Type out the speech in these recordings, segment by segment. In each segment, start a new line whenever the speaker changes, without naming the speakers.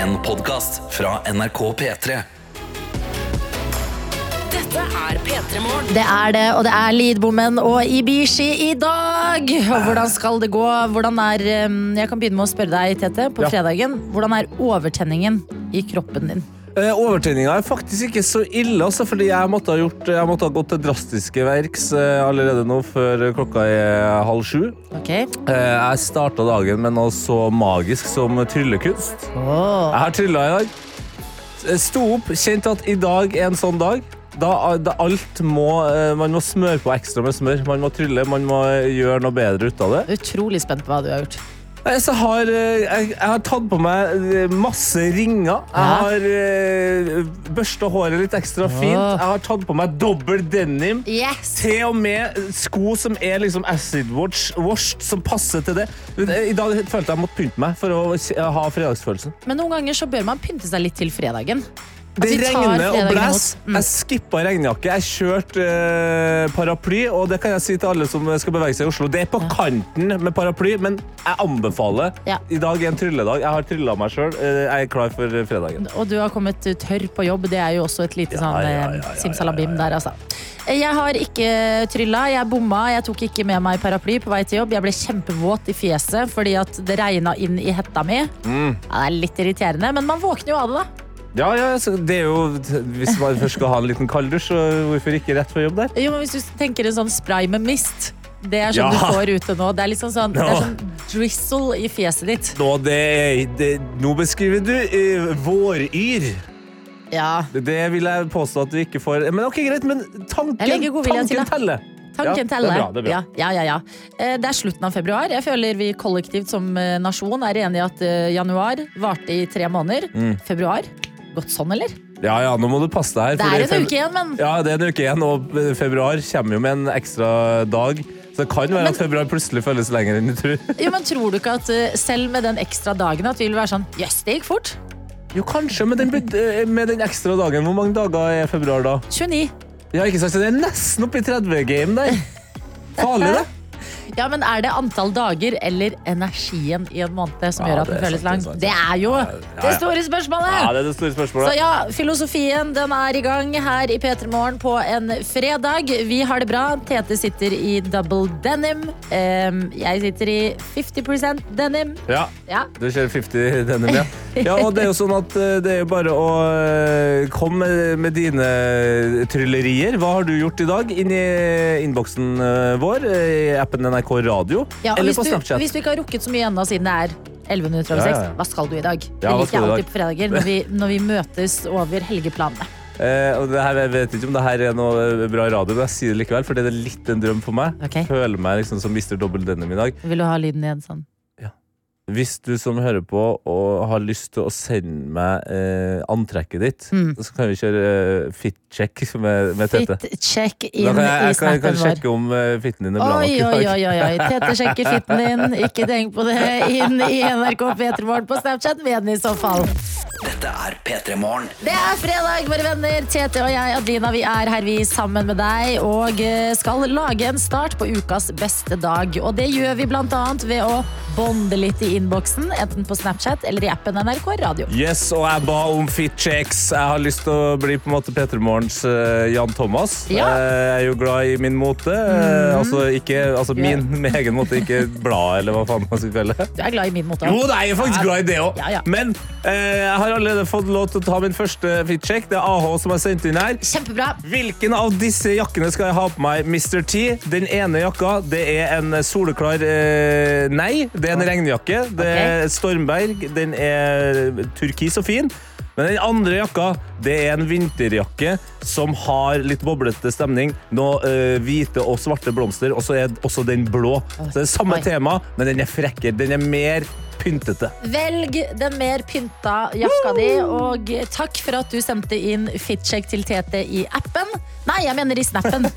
En podcast fra NRK P3
Dette er P3 Morgen.
Det er det, og det er Lidbommen og Ibishi i dag! Og hvordan skal det gå? Hvordan er eh, Jeg kan begynne med å spørre deg, Tete, på fredagen. Hvordan er overtenningen i kroppen din?
Eh, Overtenninga er faktisk ikke så ille, altså, fordi jeg måtte ha, gjort, jeg måtte ha gått til drastiske verks eh, allerede nå før klokka er halv sju.
Ok?
Eh, Jeg starta dagen med noe så magisk som tryllekunst.
Åh.
Jeg har trylla i dag. Eh, Sto opp, kjente at i dag er en sånn dag. Da, da alt må, eh, Man må smøre på ekstra med smør. Man må trylle, man må gjøre noe bedre ut av det.
Utrolig spent på hva du har gjort.
Nei, Så har, eh, jeg, jeg har tatt på meg eh, masse ringer. Jeg har eh, børsta håret litt ekstra fint.
Åh.
Jeg har tatt på meg dobbel denim.
Yes!
Til og med sko som er liksom acid wash- washed, som passer til det. I dag følte jeg måtte pynte meg for å k- ha fredagsfølelsen.
Men noen ganger så bør man pynte seg litt til fredagen. At
Det
vi tar
regner og
fredagen
blæs.
imot. Mm.
Jeg skippa regnjakke. Jeg kjørte eh, paraply, og det kan jeg si til alle som skal bevege seg i Oslo. Det er på kanten med paraply, men jeg anbefaler.
Ja.
I dag er en trylledag. Jeg har trylla meg sjøl. Jeg er klar for fredagen.
Og du har kommet eh, tørr på jobb. Det er jo også et lite
Ja,
sånn
ja,
eh,
ja, ja, ja, ja.
simsalabim der, altså. Eh, Jeg har ikke trylla. Jeg bomma. Jeg tok ikke med meg paraply på vei til jobb. Jeg ble kjempevåt i fjeset fordi at det regna inn i hetta mi. Ja,
Mm.
det er litt irriterende, men man våkner jo av det, da.
Ja, ja, så det er jo, Hvis man først skal ha en liten kalddusj, så hvorfor ikke rett før jobb der?
Jo, men Hvis du tenker en sånn spray med mist, det er sånn
Ja.
du får ute nå. Det er liksom sånn, det
Ja.
er sånn drizzle i fjeset ditt.
Nå, det, det, nå beskriver du eh, våryr.
Ja,
Det, det vil jeg påstå at du ikke får. Men ok, greit, men tanken,
Jeg legger god vilje til
tanken
det.
teller.
Tanken
Ja,
teller.
Det er bra, det er bra.
Ja, ja, ja, ja. Eh, Det er slutten av februar. Jeg føler vi kollektivt som eh, nasjon er enige i at eh, januar varte i tre måneder.
Mm.
Februar gått sånn, eller?
Ja, ja, nå må du passe deg her.
Det
for
er en
feb-
uke igjen, men
Ja, det er en uke igjen, og februar kommer jo med en ekstra dag. Så det kan være
Men-
at februar plutselig føles lenger enn du tror.
jo, men tror du ikke at eh, selv med den ekstra dagen at vi vil være sånn Jøss, det gikk fort.
Jo, kanskje, med den, bud- eh, med den ekstra dagen. Hvor mange dager er februar da?
29.
Ja, ikke sant, så det er nesten oppe i 30-game der. Farlig, det.
Ja, men er det antall dager eller energien i en måned som
Ja,
gjør at
det
den
er
føles
sant,
lang?
det er sant.
Det er jo
ja.
det store spørsmålet!
Ja, det er det store
Så
spørsmålet.
ja, filosofien den er i gang her i P3 Morgen på en fredag. Vi har det bra. Tete sitter i double denim. Em, jeg sitter i 50 denim.
Ja.
Ja.
Du kjører 50 denim, ja. ja. Og det er jo sånn at eh, det er jo bare å eh, komme med, med dine tryllerier. Hva har du gjort i dag? Inn i innboksen eh, vår, eh, i appen NRK Radio,
Ja, og
eller
hvis,
på
du,
Snapchat.
hvis du ikke har rukket så mye ennå siden det er 11 minutter over
Ja, ja,
6,
ja.
hva skal du i dag?
Ja, hva
det liker jeg
skal du i
alltid på fredager når vi, når vi møtes over helgeplanene.
Eh, og det her, jeg vet ikke om det her er noe eh, bra radio, men jeg sier det likevel, for det er litt en drøm for meg.
Ok.
Føler meg liksom som Mr. Double Denim i dag.
Vil du ha lyden igjen sånn?
Hvis du som hører på og har lyst til å sende meg eh, antrekket ditt,
Mm.
så kan vi kjøre eh, fit-check med, med Tete.
Fit check
Da
inn
kan jeg,
i
jeg kan, jeg kan
snappen vår.
sjekke om eh, fitten din er bra nok.
Oi,
i dag.
oi, oi, oi, oi. Tete sjekker fitten din. Ikke tenk på det. Inn i NRK P3 Morgen på Snapchat med den i så fall.
Dette er P3 Morgen
Det er fredag, våre venner. Tete og jeg, Adelina, vi er her vi sammen med deg og eh, skal lage en start på ukas beste dag. Og det gjør vi bl.a. ved å bonde litt i innboksen, enten på Snapchat eller i appen NRK Radio.
Yes, og jeg ba om fit checks. Jeg har lyst til å bli på en måte Peter Morgens eh, Jan Thomas.
Ja. Mhm.
Eh, jeg er jo glad i min mote. eh, altså ikke, altså min med egen mote, ikke blad eller hva faen man skal kalle det.
Du er glad i min mote.
Jo, det er jeg faktisk glad i det òg.
Ja, ja.
Men eh, jeg har allerede fått lov til å ta min første fit check. Det er AH som har sendt inn her.
Kjempebra.
Hvilken av disse jakkene skal jeg ha på meg, Mr. T? Den ene jakka, det er en soleklar eh, nei. Det er en regnjakke. Det er stormberg. Den er turkis og fin. Men den andre jakka, det er en vinterjakke som har litt boblete stemning. Noe eh, hvite og svarte blomster, og så er også den blå. Så det er samme
Oi.
tema, men den er frekkere. Den er mer pyntete.
Velg den mer pynta jakka di, og takk for at du sendte inn fitcheck til Tete i appen. Nei, jeg mener i snappen.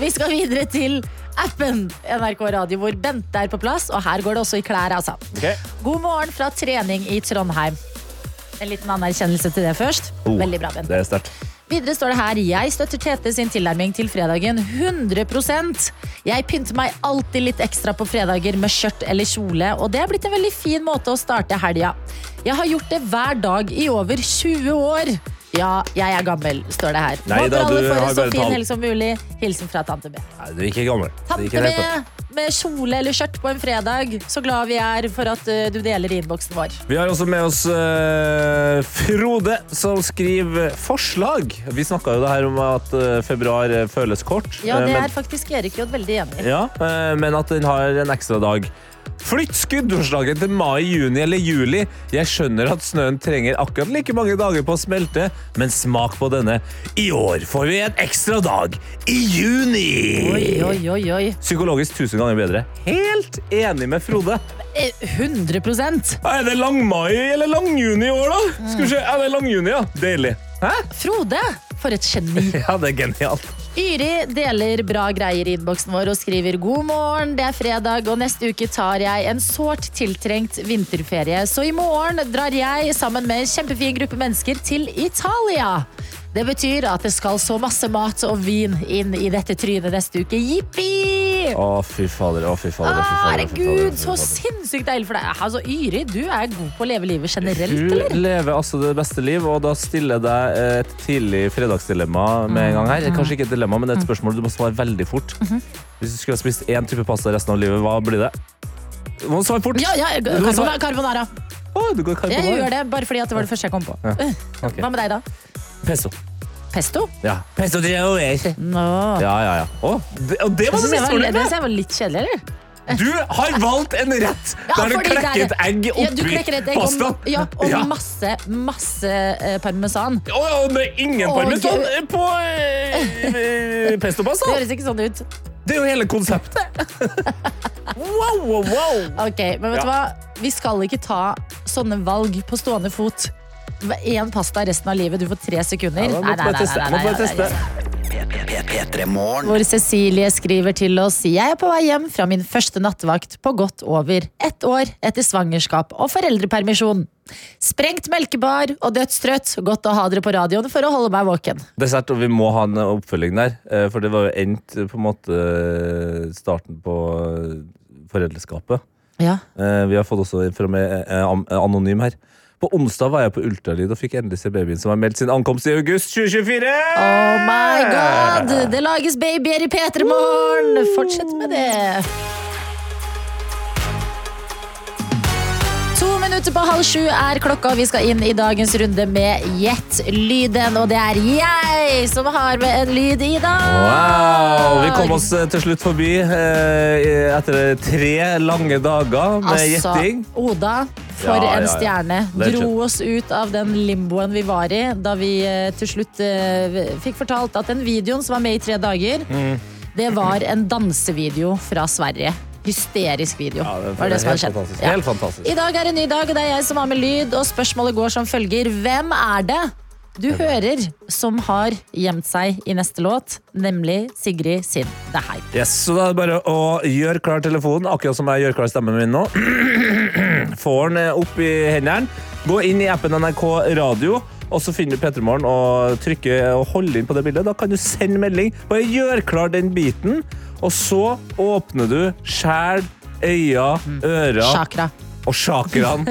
Vi skal videre til appen NRK Radio, hvor Bente er på plass, og her går det også i klær, altså.
Ok.
God morgen fra trening i Trondheim. En liten anerkjennelse til det først. Veldig bra, Bente.
Oh, Det er sterkt.
Videre står det her Jeg støtter Tete sin tilnærming til fredagen 100 Jeg pynter meg alltid litt ekstra på fredager med skjørt eller kjole, og det er blitt en veldig fin måte å starte helga. Jeg har gjort det hver dag i over 20 år. Ja, jeg er gammel, står det her.
Nei da,
Håper alle
du
får
har
en så
bare tall.
fin helg som mulig. Hilsen fra tante B.
Nei, du er ikke gammel. Du er
Tante
ikke helt på.
med, med kjole eller skjørt på en fredag. Så glad vi er for at eh, du deler innboksen vår.
Vi har også med oss eh, Frode, som skriver forslag. Vi snakka jo det her om at eh, februar eh, føles kort.
Ja,
eh,
det
men-
er faktisk Erik J. veldig enig i.
Ja, eh, men at den har en ekstra dag. Flytt skuddårslaget til mai, juni eller juli. Jeg skjønner at snøen trenger akkurat like mange dager på å smelte, men smak på denne. I år får vi en ekstra dag. I
Oi,
juni!
oi, oi, oi.
Psykologisk tusen ganger bedre. Helt enig med Frode.
Eh, 100
Er det langmai eller langjuni i år, da? Skal vi se. Er det langjuni, ja? Deilig. Hæ?
Frode, for et geni.
Ja, det er genialt.
Yri deler bra greier i innboksen vår og skriver god morgen, det er fredag, og neste uke tar jeg en sårt tiltrengt vinterferie. Så i morgen drar jeg sammen med en kjempefin gruppe mennesker til Italia. Det betyr at det skal så masse mat og vin inn i dette trynet neste uke. Jippi!
Å, fy fader. Å, fy fader. å, fy fader, å, fy fader, å,
Herregud,
fy
så
fader.
sinnssykt deilig for deg. Altså, Yri, du er god på å leve livet generelt,
Du
eller?
lever altså det beste liv, og da stiller jeg deg et tidlig fredagsdilemma med en gang her.
Mm.
Kanskje ikke et dilemma, men et spørsmål du må svare veldig fort.
Mhm.
Hvis du skulle ha spist én type pasta resten av livet, hva blir det? Du må svare fort!
Ja, ja,
svare-
carbonara.
Å, du går
Jeg gjør det bare fordi at det var det første jeg kom på. Øh,
ok.
Hva med deg, da?
Pesto.
Pesto?
Ja. Pesto di rovere.
Nå.
Ja, ja, ja. Å, det, og det var
Jeg synes
det
jeg var,
misfornøyde
jeg synes jeg var litt kjedelig, eller?
med! Du har valgt en rett der du
fordi det er-
klekker et egg
Ja, du klekker
oppi
et egg og-
pasta.
Ja, og
Ja.
masse, masse eh, parmesan. Det
Å, ja, og det er ingen
Og-
parmesan på eh, eh, pestopasta!
høres ikke sånn ut.
Det er jo hele konseptet. wow, wow, wow.
Ok, Men vet du hva? Vi skal ikke ta sånne valg på stående fot. Én pasta resten av livet. Du får tre sekunder.
Ja, da måtte bare teste, måtte bare teste.
P3 Morgen.
Hvor Cecilie skriver til oss Jeg er på vei hjem fra min første nattevakt på godt over ett år etter svangerskap og foreldrepermisjon. Sprengt melkebar og dødstrøtt. Godt å ha dere på radioen for å holde meg våken.
Dessert, og vi må ha en oppfølging der. eh, For det var jo endt eh, på en måte eh, starten på eh, foreldreskapet.
Ja,
Eh, Vi har fått også fra med eh, am- eh, anonym her. På onsdag var jeg på ultralyd og fikk endelig se babyen som har meldt sin ankomst i august 2024!
Oh my god! Det lages babyer i P3morgen! Fortsett med det. To minutter på halv sju er klokka, og vi skal inn i dagens runde med Gjett-lyden. Og det er jeg som har med en lyd i dag!
Wow! Vi kom oss eh, til slutt forbi eh, etter tre lange dager med
Altså,
gjetting.
Oda, for
Ja, ja,
en
ja.
stjerne.
Legend.
Dro oss ut av den limboen vi var i da vi eh, til slutt eh, fikk fortalt at den videoen som var med i tre dager,
Mm.
det var en dansevideo fra Sverige. Hysterisk video.
Ja, det
var det som hadde
helt
skjedd.
fantastisk.
Ja.
Helt fantastisk.
I dag er en ny dag, og det er jeg som har med lyd, og spørsmålet går som følger. Hvem er det du hører som har gjemt seg i neste låt, nemlig Sigrid sin Det her.
Yes, så da er det bare å gjøre klar telefonen, akkurat som jeg gjør klar stemmen min nå. Får den eh, opp i hendene. Gå inn i appen NRK Radio, og så finner du P3morgen og trykker og holder inn på det bildet. Da kan du sende melding. Bare gjør klar den biten, og så åpner du skjæl, øyne, ører
Chakra.
og sjakraen,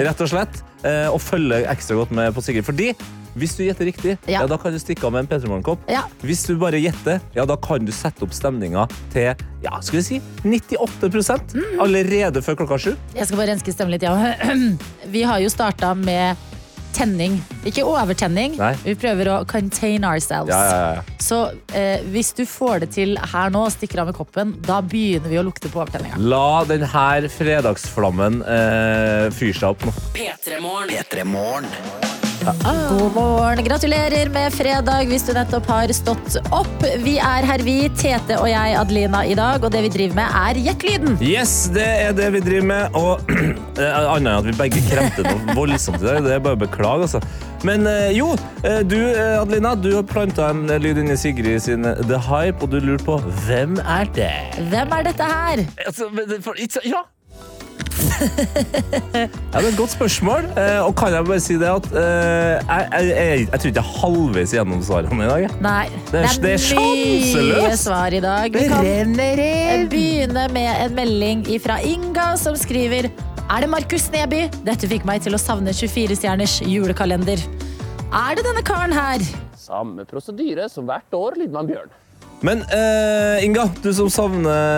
rett og slett. eh, Og følger ekstra godt med på Sigrid. Fordi hvis du gjetter riktig, ja.
Ja.
da kan du stikke av med en P3 Morgen-kopp.
Ja.
Hvis du bare gjetter, ja, da kan du sette opp stemninga til ja, skal vi si 98
Mm.
allerede før klokka sju.
Jeg skal bare renske stemmen litt, ja. Vi har jo starta med tenning. Ikke overtenning.
Nei.
Vi prøver å contain ourselves. Så eh, hvis du får det til her nå, stikker av med koppen, da begynner vi å lukte på overtenninga.
La denne fredagsflammen eh, fyre seg opp nå.
P3 Morgen.
P3 Morgen.
God morgen. Gratulerer med fredag hvis du nettopp har stått opp. Vi er her, vi, Tete og jeg, Adelina, i dag, og det vi driver med, er Gjett-lyden.
Yes, det er det vi driver med. Og eh, annet enn at vi begge kremte noe voldsomt i dag. Det er bare å beklage, altså. Men eh, jo, eh, du eh, Adelina, du har planta en eh, lyd inni Sigrid sin eh, The Hype, og du lurte på hvem er det?
Hvem er dette her?
Eh, Altså, men det- for- ikke så- ja. Ja, det er et godt spørsmål. Eh, og kan jeg bare si det at eh, jeg, jeg, jeg, jeg tror ikke jeg er halvveis gjennom svarene i dag. jeg.
Nei.
Det er- det er
mye
sjanseløst.
svar i dag. Vi kan begynne med en melding fra Inga, som skriver Er det Markus Neby? Dette fikk meg til å savne 24-stjerners julekalender. Er det denne karen her?
Samme prosedyre som hvert år lyder man bjørn.
Men eh, Inga, du som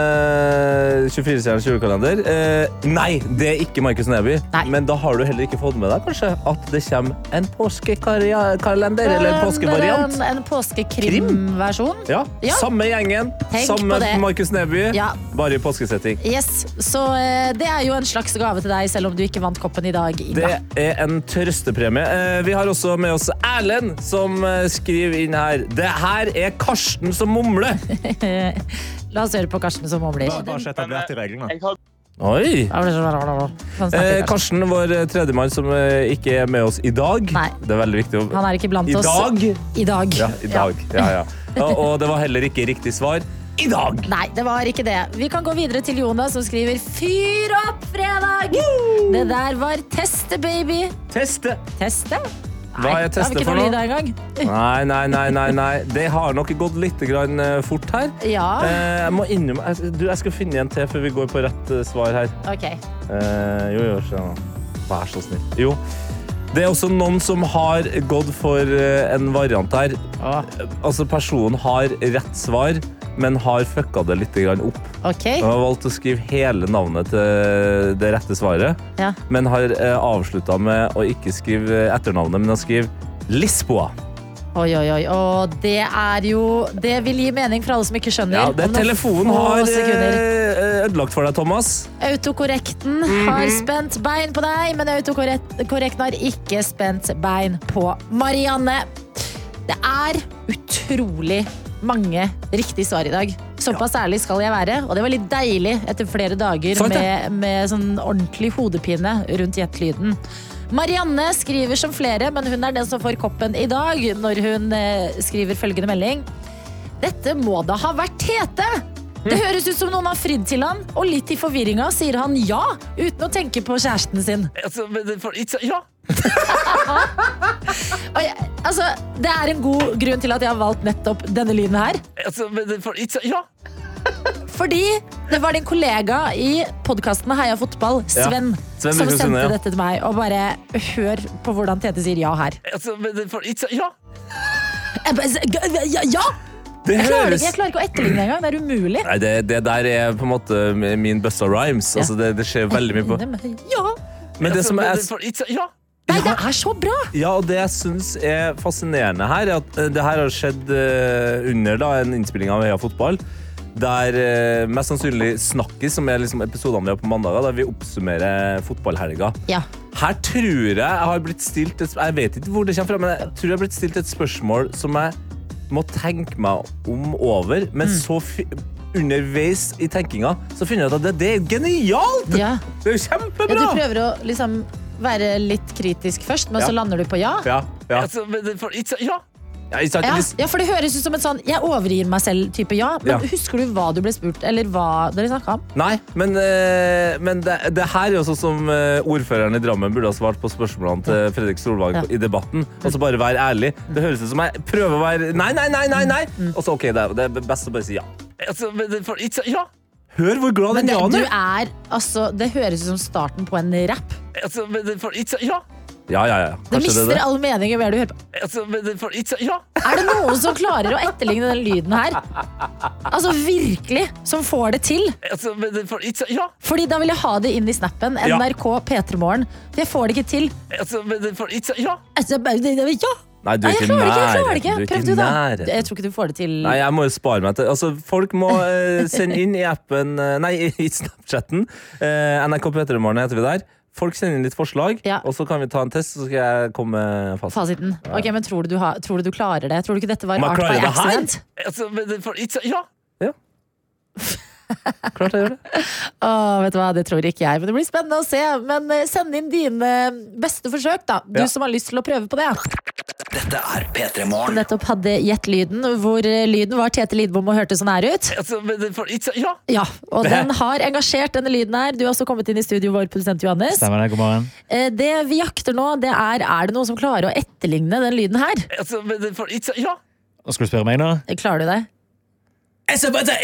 savner 24-stjerners julekalender. eh, nei, det er ikke Markus Neby.
Nei.
Men da har du heller ikke fått med deg kanskje at det kommer en påskekalender, eller en påskevariant.
En, en påskekrimversjon.
Ja,
Ja.
Samme gjengen,
Tenk på
samme
det.
Markus Neby,
Ja.
bare i påskesetting.
Yes, så eh, Det er jo en slags gave til deg, selv om du ikke vant koppen i dag. Inga.
Det er en trøstepremie. Eh, Vi har også med oss Erlend, som eh, skriver inn her. Det her er Karsten som mumler.
La oss høre på Karsten som mumler.
Bare sett deg rett i reglene.
Oi!
Han
Eh,
snakker Karsten.
Karsten, vår eh, tredjemann som eh, ikke er med oss i dag.
Nei.
Det er veldig viktig. å-
Han er ikke blant
I
oss
dag?
i dag.
Ja, i dag. Ja, ja. Og, og det var heller ikke riktig svar. I dag!
Nei, det var ikke det. Vi kan gå videre til Jonas, som skriver 'Fyr opp fredag'! Det der var teste, baby.
Teste.
Teste? det
Hva er
har vi
teste
ikke
for
noe lyd
noe?
av engang.
Nei, nei, nei, nei, nei. Det har nok gått litt grann eh, fort her.
Ja,
Eh, Jeg må innrømme jeg- Du, jeg skal finne en til før vi går på rett eh, svar her.
OK.
Eh, jo, jo, skjønner. Vær så snill. Jo. Det er også noen som har gått for eh, en variant her. Altså, personen har rett svar, men har fucka det litt grann opp.
ok.
Han har valgt å skrive hele navnet til det rette svaret,
Ja.
men har eh, avslutta med å ikke skrive etternavnet, men har skrevet Lisboa.
Oi, oi, oi. Og det er jo Det vil gi mening for alle som ikke skjønner.
Ja, det
Om noen
telefonen
få
har
sekunder.
eh, ødelagt for deg, Thomas.
Autokorrekten har spent bein på deg, men autokorrekten har ikke spent bein på Marianne. Det er utrolig mange riktige svar i dag. Såpass ærlig skal jeg være, og det var litt deilig etter flere dager
Sant det.
med, med sånn ordentlig hodepine rundt gjettelyden. Marianne skriver som flere, men hun er den som får koppen i dag når hun eh, skriver følgende melding. Dette må da ha vært Tete! Det høres ut som noen har fridd til han, og litt i forvirringa sier han ja, uten å tenke på kjæresten sin.
Altså, men det- for- it's- ja.
Og jeg, altså, det er en god grunn til at jeg har valgt nettopp denne lyden her.
Altså, men det- for- it's- ja.
Fordi det var din kollega i podkasten Heia fotball, Sven,
Sven
som
Mikkelsen,
sendte
ja.
dette til meg. Og bare hør på hvordan Tete sier ja her.
Altså, men det- for- it's- ja.
Jeg bare, s- g- ja, ja!
Det
Jeg klarer,
høres
ikke, jeg klarer ikke å etterligne engang. Det er umulig.
Nei, det, det der er på en måte min Busta Rhymes. Altså, det, det skjer veldig mye på
Ja.
Men det som er
Ja!
Nei, det er så bra!
Ja, og det jeg syns er fascinerende her, er at eh, det her har skjedd eh, under da, en innspilling av Heia fotball. Der eh, mest sannsynlig Snakkis, som er liksom episodene vi har på mandager, der vi oppsummerer fotballhelga.
Ja.
Her tror jeg jeg har blitt stilt et, Jeg vet ikke hvor det kommer fra, men jeg tror jeg har blitt stilt et spørsmål som jeg må tenke meg om over,
Mm.
men så fi- underveis i tenkinga så finner jeg ut at det, det er genialt!
Ja.
Det er jo
Ja,
kjempebra!
du prøver å liksom være litt kritisk først, men
Ja.
så lander du på ja.
ja, ja.
Altså, men det- for- it's- ja.
Ja, ikke sant?
Ja,
Hvis-
ja, for det høres ut som en sånn 'jeg overgir meg selv'-type ja. Men
Ja.
husker du hva du ble spurt, eller hva dere snakka om?
Nei, men, eh, men det, det her er jo sånn som eh, ordføreren i Drammen burde ha svart på spørsmålene til Fredrik Solvang
Ja.
i debatten. Og så bare være ærlig. Det høres ut som jeg prøver å være Nei, nei, nei! nei, nei.
Mm.
Og så OK, det er, det er best å bare si ja.
Altså, men det- for it's- ja.
Hør hvor glad
Men
den
det,
Jan
du
er!
er, altså, det høres ut som starten på en rapp.
Altså, men det- for it's- ja.
Ja, ja, ja.
Det
Kanskje det
mister
er det.
all mening jo mer du hører på.
Altså, men det- for it's- ja.
Er det noen som klarer å etterligne den lyden her? Altså virkelig, som får det til.
Altså, men det- for it's- ja.
Fordi da vil jeg ha det inn i snappen.
Ja.
NRK P3morgen. For jeg får det ikke til.
Altså, men det- for it's- ja.
Altså, Ja!
Nei, du
Nei, jeg klarer
er ikke
det ikke! jeg
nær.
klarer det ikke.
Du er
Prøv
ikke
du, da.
nær.
Jeg tror ikke du får det til.
Nei, jeg må jo spare meg til Altså, folk må eh, sende inn i appen eh, Nei, i Snapchatten. Eh, NRK P3morgen heter vi der. Folk sender inn litt forslag,
Ja.
og så kan vi ta en test, så skal jeg komme med fasit.
Fasiten. Ok, men tror du, du har, tror du du klarer det? Tror du ikke dette var
Man
art by
klarer det her?
accident?
Altså, men det- for it's- ja.
Klart jeg gjør det.
Åh, vet du hva, Det tror ikke jeg, men det blir spennende å se. Men eh, send inn dine eh, beste forsøk, da. Du
Ja.
som har lyst til å prøve på det.
Dette er P3
som
Morgen.
nettopp hadde Gjett lyden, hvor eh, lyden var Tete Lidbom og hørtes sånn her ut.
Altså, men det- for- it's a- Ja!
Ja, Og den har engasjert, denne lyden her. Du har også kommet inn i studio, vår produsent Johannes.
Stemmer det, god morgen.
Eh, Det vi jakter nå, det er er det noen som klarer å etterligne den lyden her.
Altså, men det- for- it's a- Ja!
Og Skal du spørre meg nå?
Klarer du det?
Ja!
Det er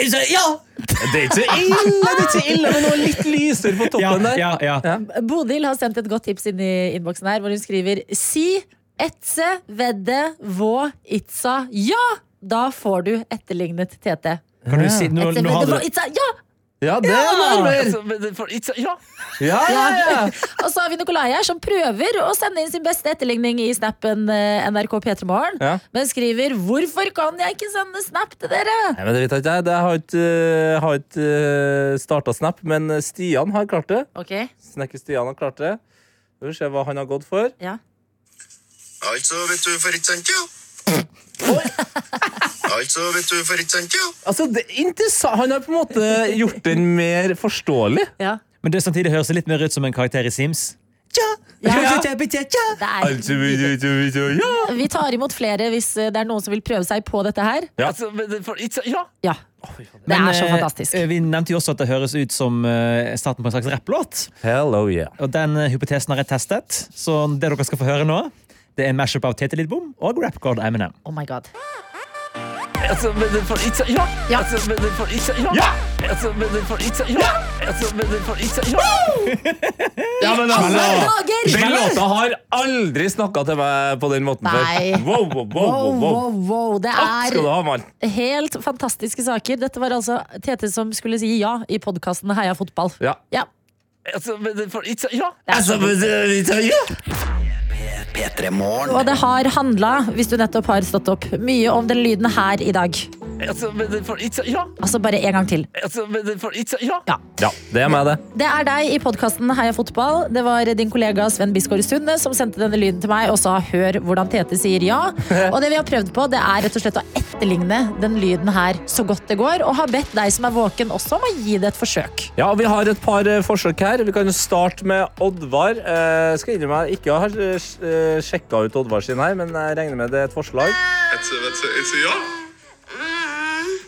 ikke så ille, det er ikke så ille, men det var litt lysere på
Ja,
toppen der.
ja, ja.
Bodil har sendt et godt tips inn i innboksen her, hvor hun skriver Si etse vedde vå itsa ja! Da får du etterlignet Tete.
Kan du si, nå,
Etse
nå
vedde
hadde
vå
du
itsa ja!
Ja, det er nærmere.
Altså, men det- for- it's a- Ja!
Ja, ja, ja.
Og så har vi Nikolai her som prøver å sende inn sin beste etterligning i snappen eh, NRK P3 Morgen,
Ja.
men skriver 'Hvorfor kan jeg ikke sende snap til dere?'
Nei, men det vet jeg ikke. jeg. Det har ikke, eh, har ikke eh, startet Snap, men Stian har klart det.
Ok,
Snekker Stian har klart det. Skal vi se hva han har gått for.
ja
Altså, vet du, for ikke sant, ja. Altså, vet du, for ikke sant, ja.
Altså, det er interessant. Han har på en måte gjort den mer forståelig.
Ja,
Men det samtidig høres det litt mer ut som en karakter i Sims.
ja.
Hva
Det
Altså,
er
Ja!
Vi tar imot flere hvis eh, det er noen som vil prøve seg på dette her.
Altså, men det- for- it's a- Ja!
Ja, Det er
eh,
så fantastisk.
Vi nevnte jo også at det høres ut som eh, starten på en slags rapplåt.
Hello, yeah.
Og den eh, hypotesen har jeg testet. Så det dere skal få høre nå, det er en mashup av Tete Lidbom og rapgod Eminem.
Oh my god.
Altså, men det- for- it's a- Ja!
Ja.
Altså, men det- for- it's a- Ja! Altså, men det- for- it's a- Ja! Altså, men det- for- it's a- Ja!
Ja, men
Alle
altså, den
dager!
låta har aldri snakka til meg på den måten
Nei.
før. Wow, wow, wow,
Wow,
wow.
wow, wow. Det
Takk skal du
er
ha, mann.
helt fantastiske saker. Dette var altså Tete som skulle si ja i podkasten Heia fotball.
Ja.
Ja,
Altså, men det- for- it's a- Ja!
det
Altså,
er så fint.
P3 Morgen.
Og det har handla, hvis du nettopp har stått opp, mye om den lyden her i dag.
Altså, men det- for- it's a- Ja!
Altså bare en gang til.
Altså, men det- for- it's a- Ja!
Ja, det er meg, det.
Det er deg i podkasten Heia fotball. Det var din kollega Sven Bisgaard Sunde som sendte denne lyden til meg og sa hør hvordan Tete sier ja. Og det vi har prøvd på, det er rett og slett å etterligne den lyden her så godt det går. Og har bedt deg som er våken også om å gi det et forsøk.
Ja, Vi har et par eh, forsøk her. Vi kan jo starte med Oddvar. Eh, skal innrømme jeg ikke har eh, sjekka ut Oddvar sin her, men jeg regner med det er et forslag.
Altså, vet du, ikke ja.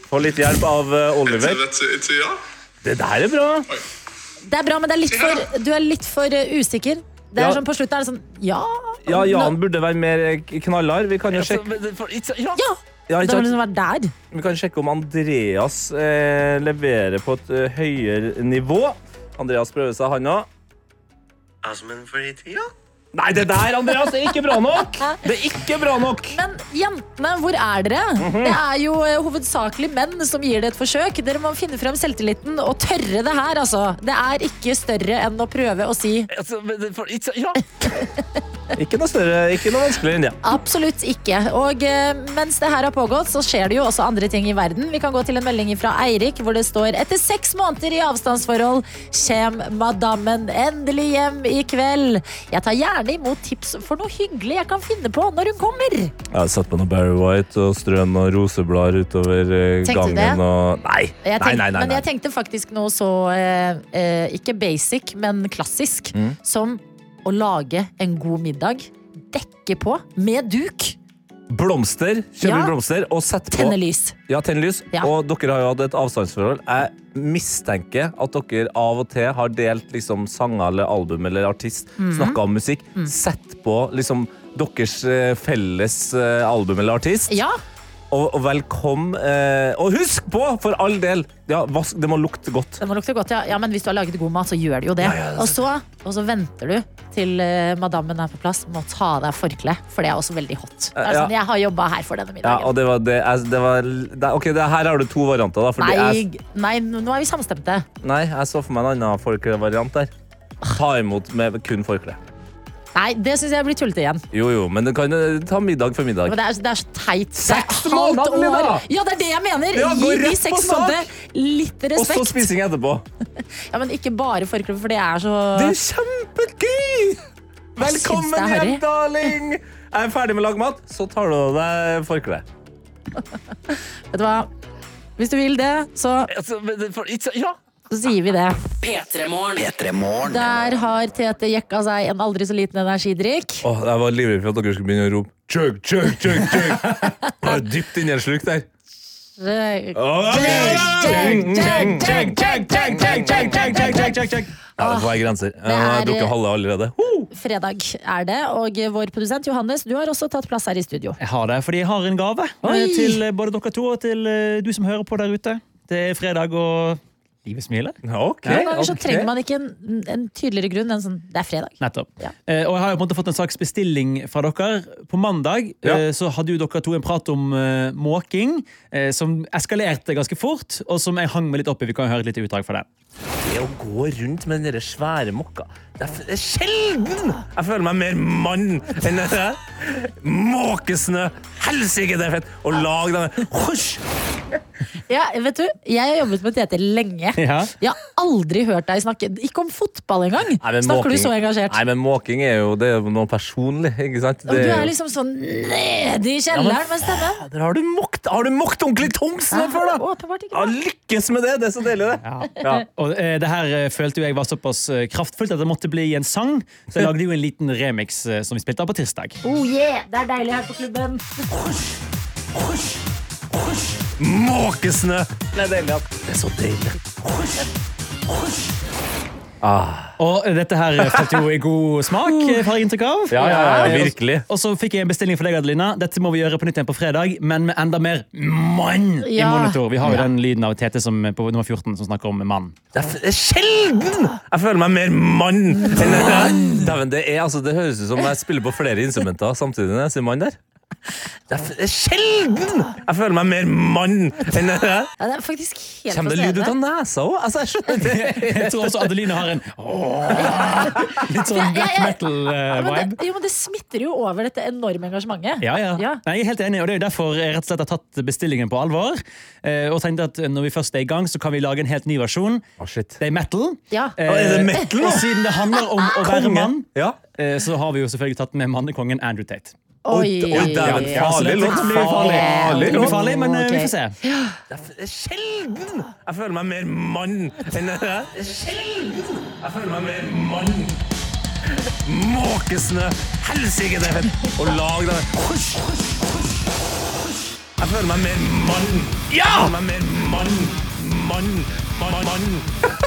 Få litt hjelp av eh,
Altså,
Oliver.
vet du, ikke ja.
Det der er bra.
Det er bra, men det er litt for, du er litt for eh, usikker. Det er
Ja.
sånn På slutten er det sånn ja.
Ja, Jan burde være mer eh, knallhard. Vi kan jo
Altså,
sjekke,
men det- for- it's a- Ja!
Ja!
ja,
Det
ikke
må
sant?
liksom være der.
Vi kan sjekke om Andreas eh, leverer på et eh, høyere nivå. Andreas prøver seg, han òg. Nei, det der, Andreas, er ikke bra nok! Det er ikke bra nok.
Men jentene, hvor er dere? Det er jo eh, hovedsakelig menn som gir det et forsøk. Dere må finne frem selvtilliten og tørre det her, altså. Det er ikke større enn å prøve å si
Altså, men det- for- it's a- Ja!
Ikke noe større, ikke noe vanskeligere enn det.
absolutt ikke. Og eh, mens det her har pågått, så skjer det jo også andre ting i verden. Vi kan gå til en melding fra Eirik, hvor det står etter seks måneder i avstandsforhold kjem madammen endelig hjem i kveld. Jeg tar gjerne imot tips for noe hyggelig jeg kan finne på når hun kommer.
Jeg har satt på noe Barry White og strødd noen roseblader utover eh,
Tenkte du
gangen.
det?
Og... Nei.
Jeg
nei,
tenkte,
nei, nei,
Men
nei.
jeg tenkte faktisk noe så eh, eh, Ikke basic, men klassisk.
Mm.
Som å lage en god middag, dekke på med duk,
Blomster. Kjøper
Ja.
blomster og setter på
tenne lys.
ja, tenne lys.
Ja.
Og dere har jo hatt et avstandsforhold. Jeg mistenker at dere av og til har delt liksom, sanger eller album eller artist.
Mhm.
Snakka om musikk. Sett på liksom, deres eh, felles eh, album eller artist.
Ja,
Og, og velkom eh, Og husk på, for all del! Ja, vask, det må lukte godt.
det må lukte godt, ja. ja. Men hvis du har laget god mat, så gjør det jo det. og, så, og så venter du til eh, madammen er på plass med å ta av deg forkleet, for det er også veldig hot. Det er
Ja.
sånn, jeg har jobba her for denne
Ja,
middagen.
og det var det, jeg- det var, det, Ok, det, her har du to varianter, da. Fordi
Nei,
jeg,
nei, nå er vi samstemte.
nei, jeg så for meg en annen forklevariant der. Ta imot med kun forkle.
Nei, det syns jeg blir tullete igjen.
Jo, jo, men du kan eh, ta middag for middag.
Men det er, det er så teit. Det er
Seks
halvt år.
måneder, Lina!
Ja, det er det jeg mener!
Ja, gå
Gi de
rett på
seks
sak.
månedene litt
Og så
respekt.
spising etterpå.
Ja, men ikke bare forklubber, for det er så
Det er kjempegøy!
syns det
Velkommen
er
hjem,
harry.
darling! Jeg er ferdig med å lage mat, så tar du av deg forkle.
Vet du hva? Hvis du vil det, så,
Altså, men det- for- it's a- Ja!
så sier vi det.
P3 Morgen.
P3 Morgen.
Der har Tete jekka seg en aldri så liten energidrikk.
Åh, jeg var livredd for at dere skulle begynne å rope chug, chug, chug, chug. Ah, Dypt inni en slurk der.
Røyk.
Oh,
Chug, chug, chug, chug, chug, chug, chug, chug, chug, chug.
Ja, det får være grenser. Jeg har
Det er-
drukket halve allerede. Ho!
Fredag er det, og vår produsent Johannes, du har også tatt plass her i studio.
Jeg har det, fordi jeg har en gave
Oi!
eh, til eh, både dere to og til eh, du som hører på der ute. Det er fredag, og livet smiler.
Ok.
Noen ganger så
ok.
trenger man ikke en, en tydeligere grunn enn sånn det er fredag.
Nettopp.
Ja.
Eh, og jeg har jo på en måte fått en slags bestilling fra dere. På mandag
Ja.
eh, så hadde jo dere to en prat om eh, måking, eh, som eskalerte ganske fort, og som jeg hang meg litt opp i. Vi kan høre et lite utdrag fra den.
Det å gå rundt med den der svære mokka Det er f- det er sjelden! Jeg føler meg mer mann enn det der. Måkesnø! Helsike, det er fett! Og lag den Husj!
Ja, vet du, Jeg har jobbet med Tete lenge.
Ja.
Jeg har aldri hørt deg snakke Ikke om fotball engang!
Nei, men
Snakker
måking-
du så engasjert?
Nei, men måking er jo, det er jo noe personlig, ikke sant?
Og
Det
du
er
er
jo-
liksom sånn nede i kjelleren med stemmen.
Der har du mokt! Har du mokt ordentlig tomsen før, da?
Åpenbart ikke.
Ja, lykkes med det! Det er så deilig, det. Ja.
Og eh, det her eh, følte jo jeg var såpass eh, kraftfullt at det måtte bli en sang, så jeg lagde jo en liten remix eh, som vi spilte av på tirsdag.
Oh yeah, det er deilig her på klubben.
Måkesnø! Det er deilig. at- Det er så deilig.
Og eh, dette her eh, falt jo i god smak,
Oh.
eh, har jeg inntrykk av.
Ja, ja, ja, virkelig.
Og så fikk jeg en bestilling fra deg, Adelina. Dette må vi gjøre på nytt igjen på fredag, men med enda mer mann i
Ja.
monitor. Vi har jo den lyden av Tete som, på nummer 14 som snakker om mann.
Det er f- det er sjelden! Jeg føler meg mer mann enn det der. Dæven, det, er, altså, det høres ut som jeg spiller på flere instrumenter samtidig når jeg sier mann der. Det er f- det er sjelden! Jeg føler meg mer mann enn det der.
Ja, det er faktisk helt
Kommer det lyd ut av
fascinerende.
nesa òg? Altså, jeg skjønner ikke.
Jeg tror også Adeline har en litt sånn
Ja, ja, ja.
black
Ja, men
metal-vibe.
det, jo, men det smitter jo over dette enorme engasjementet.
Ja, ja. Nei, jeg er helt enig, og Det er jo derfor jeg rett og slett har tatt bestillingen på alvor. eh, Og tenkte at når vi først er i gang, så kan vi lage en helt ny versjon.
Å, shit.
Det er metal.
Ja. Ah,
Eh,
Å, er det metal, da?
og siden det handler om å være mann,
Ja.
eh, så har vi jo selvfølgelig tatt med mannekongen Andrew Tate.
Oi,
Oi, oi, dæven,
Ja, så
farlig
dette
låt.
kan bli
Farlig
Det kan bli farlig, men eh, vi får
Ok.
se.
Det er f- det er sjelden! Jeg føler meg mer mann enn det der. Det er sjelden! Jeg føler meg mer mann. Måkesnø! Helsike, det er fett! Og lag den Husj, husj, husj, husj. Jeg føler meg mer mann. Ja! Jeg føler meg mer mann. Mann. Mann. Mann.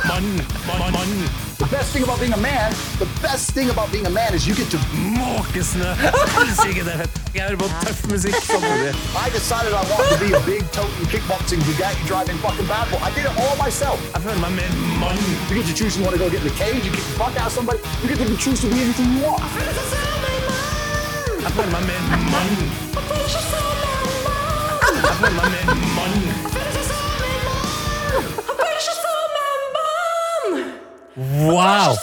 Mann. Mann. mann.
best thing about being a man, the best thing about being a man is you get to.
Måkesnø! Helsike, det er fett! Jeg hører på tøff musikk samtidig.
I decided I wanted to be a big toting kickboxing Bugatti driving fucking bad boy. I did it all myself.
Jeg føler meg mer mann.
You get to choose you want to go get in the cage, you get to fuck out somebody, you get to choose to be anything you want.
Jeg føler meg mer mann. Jeg føler meg mer mann. Wow!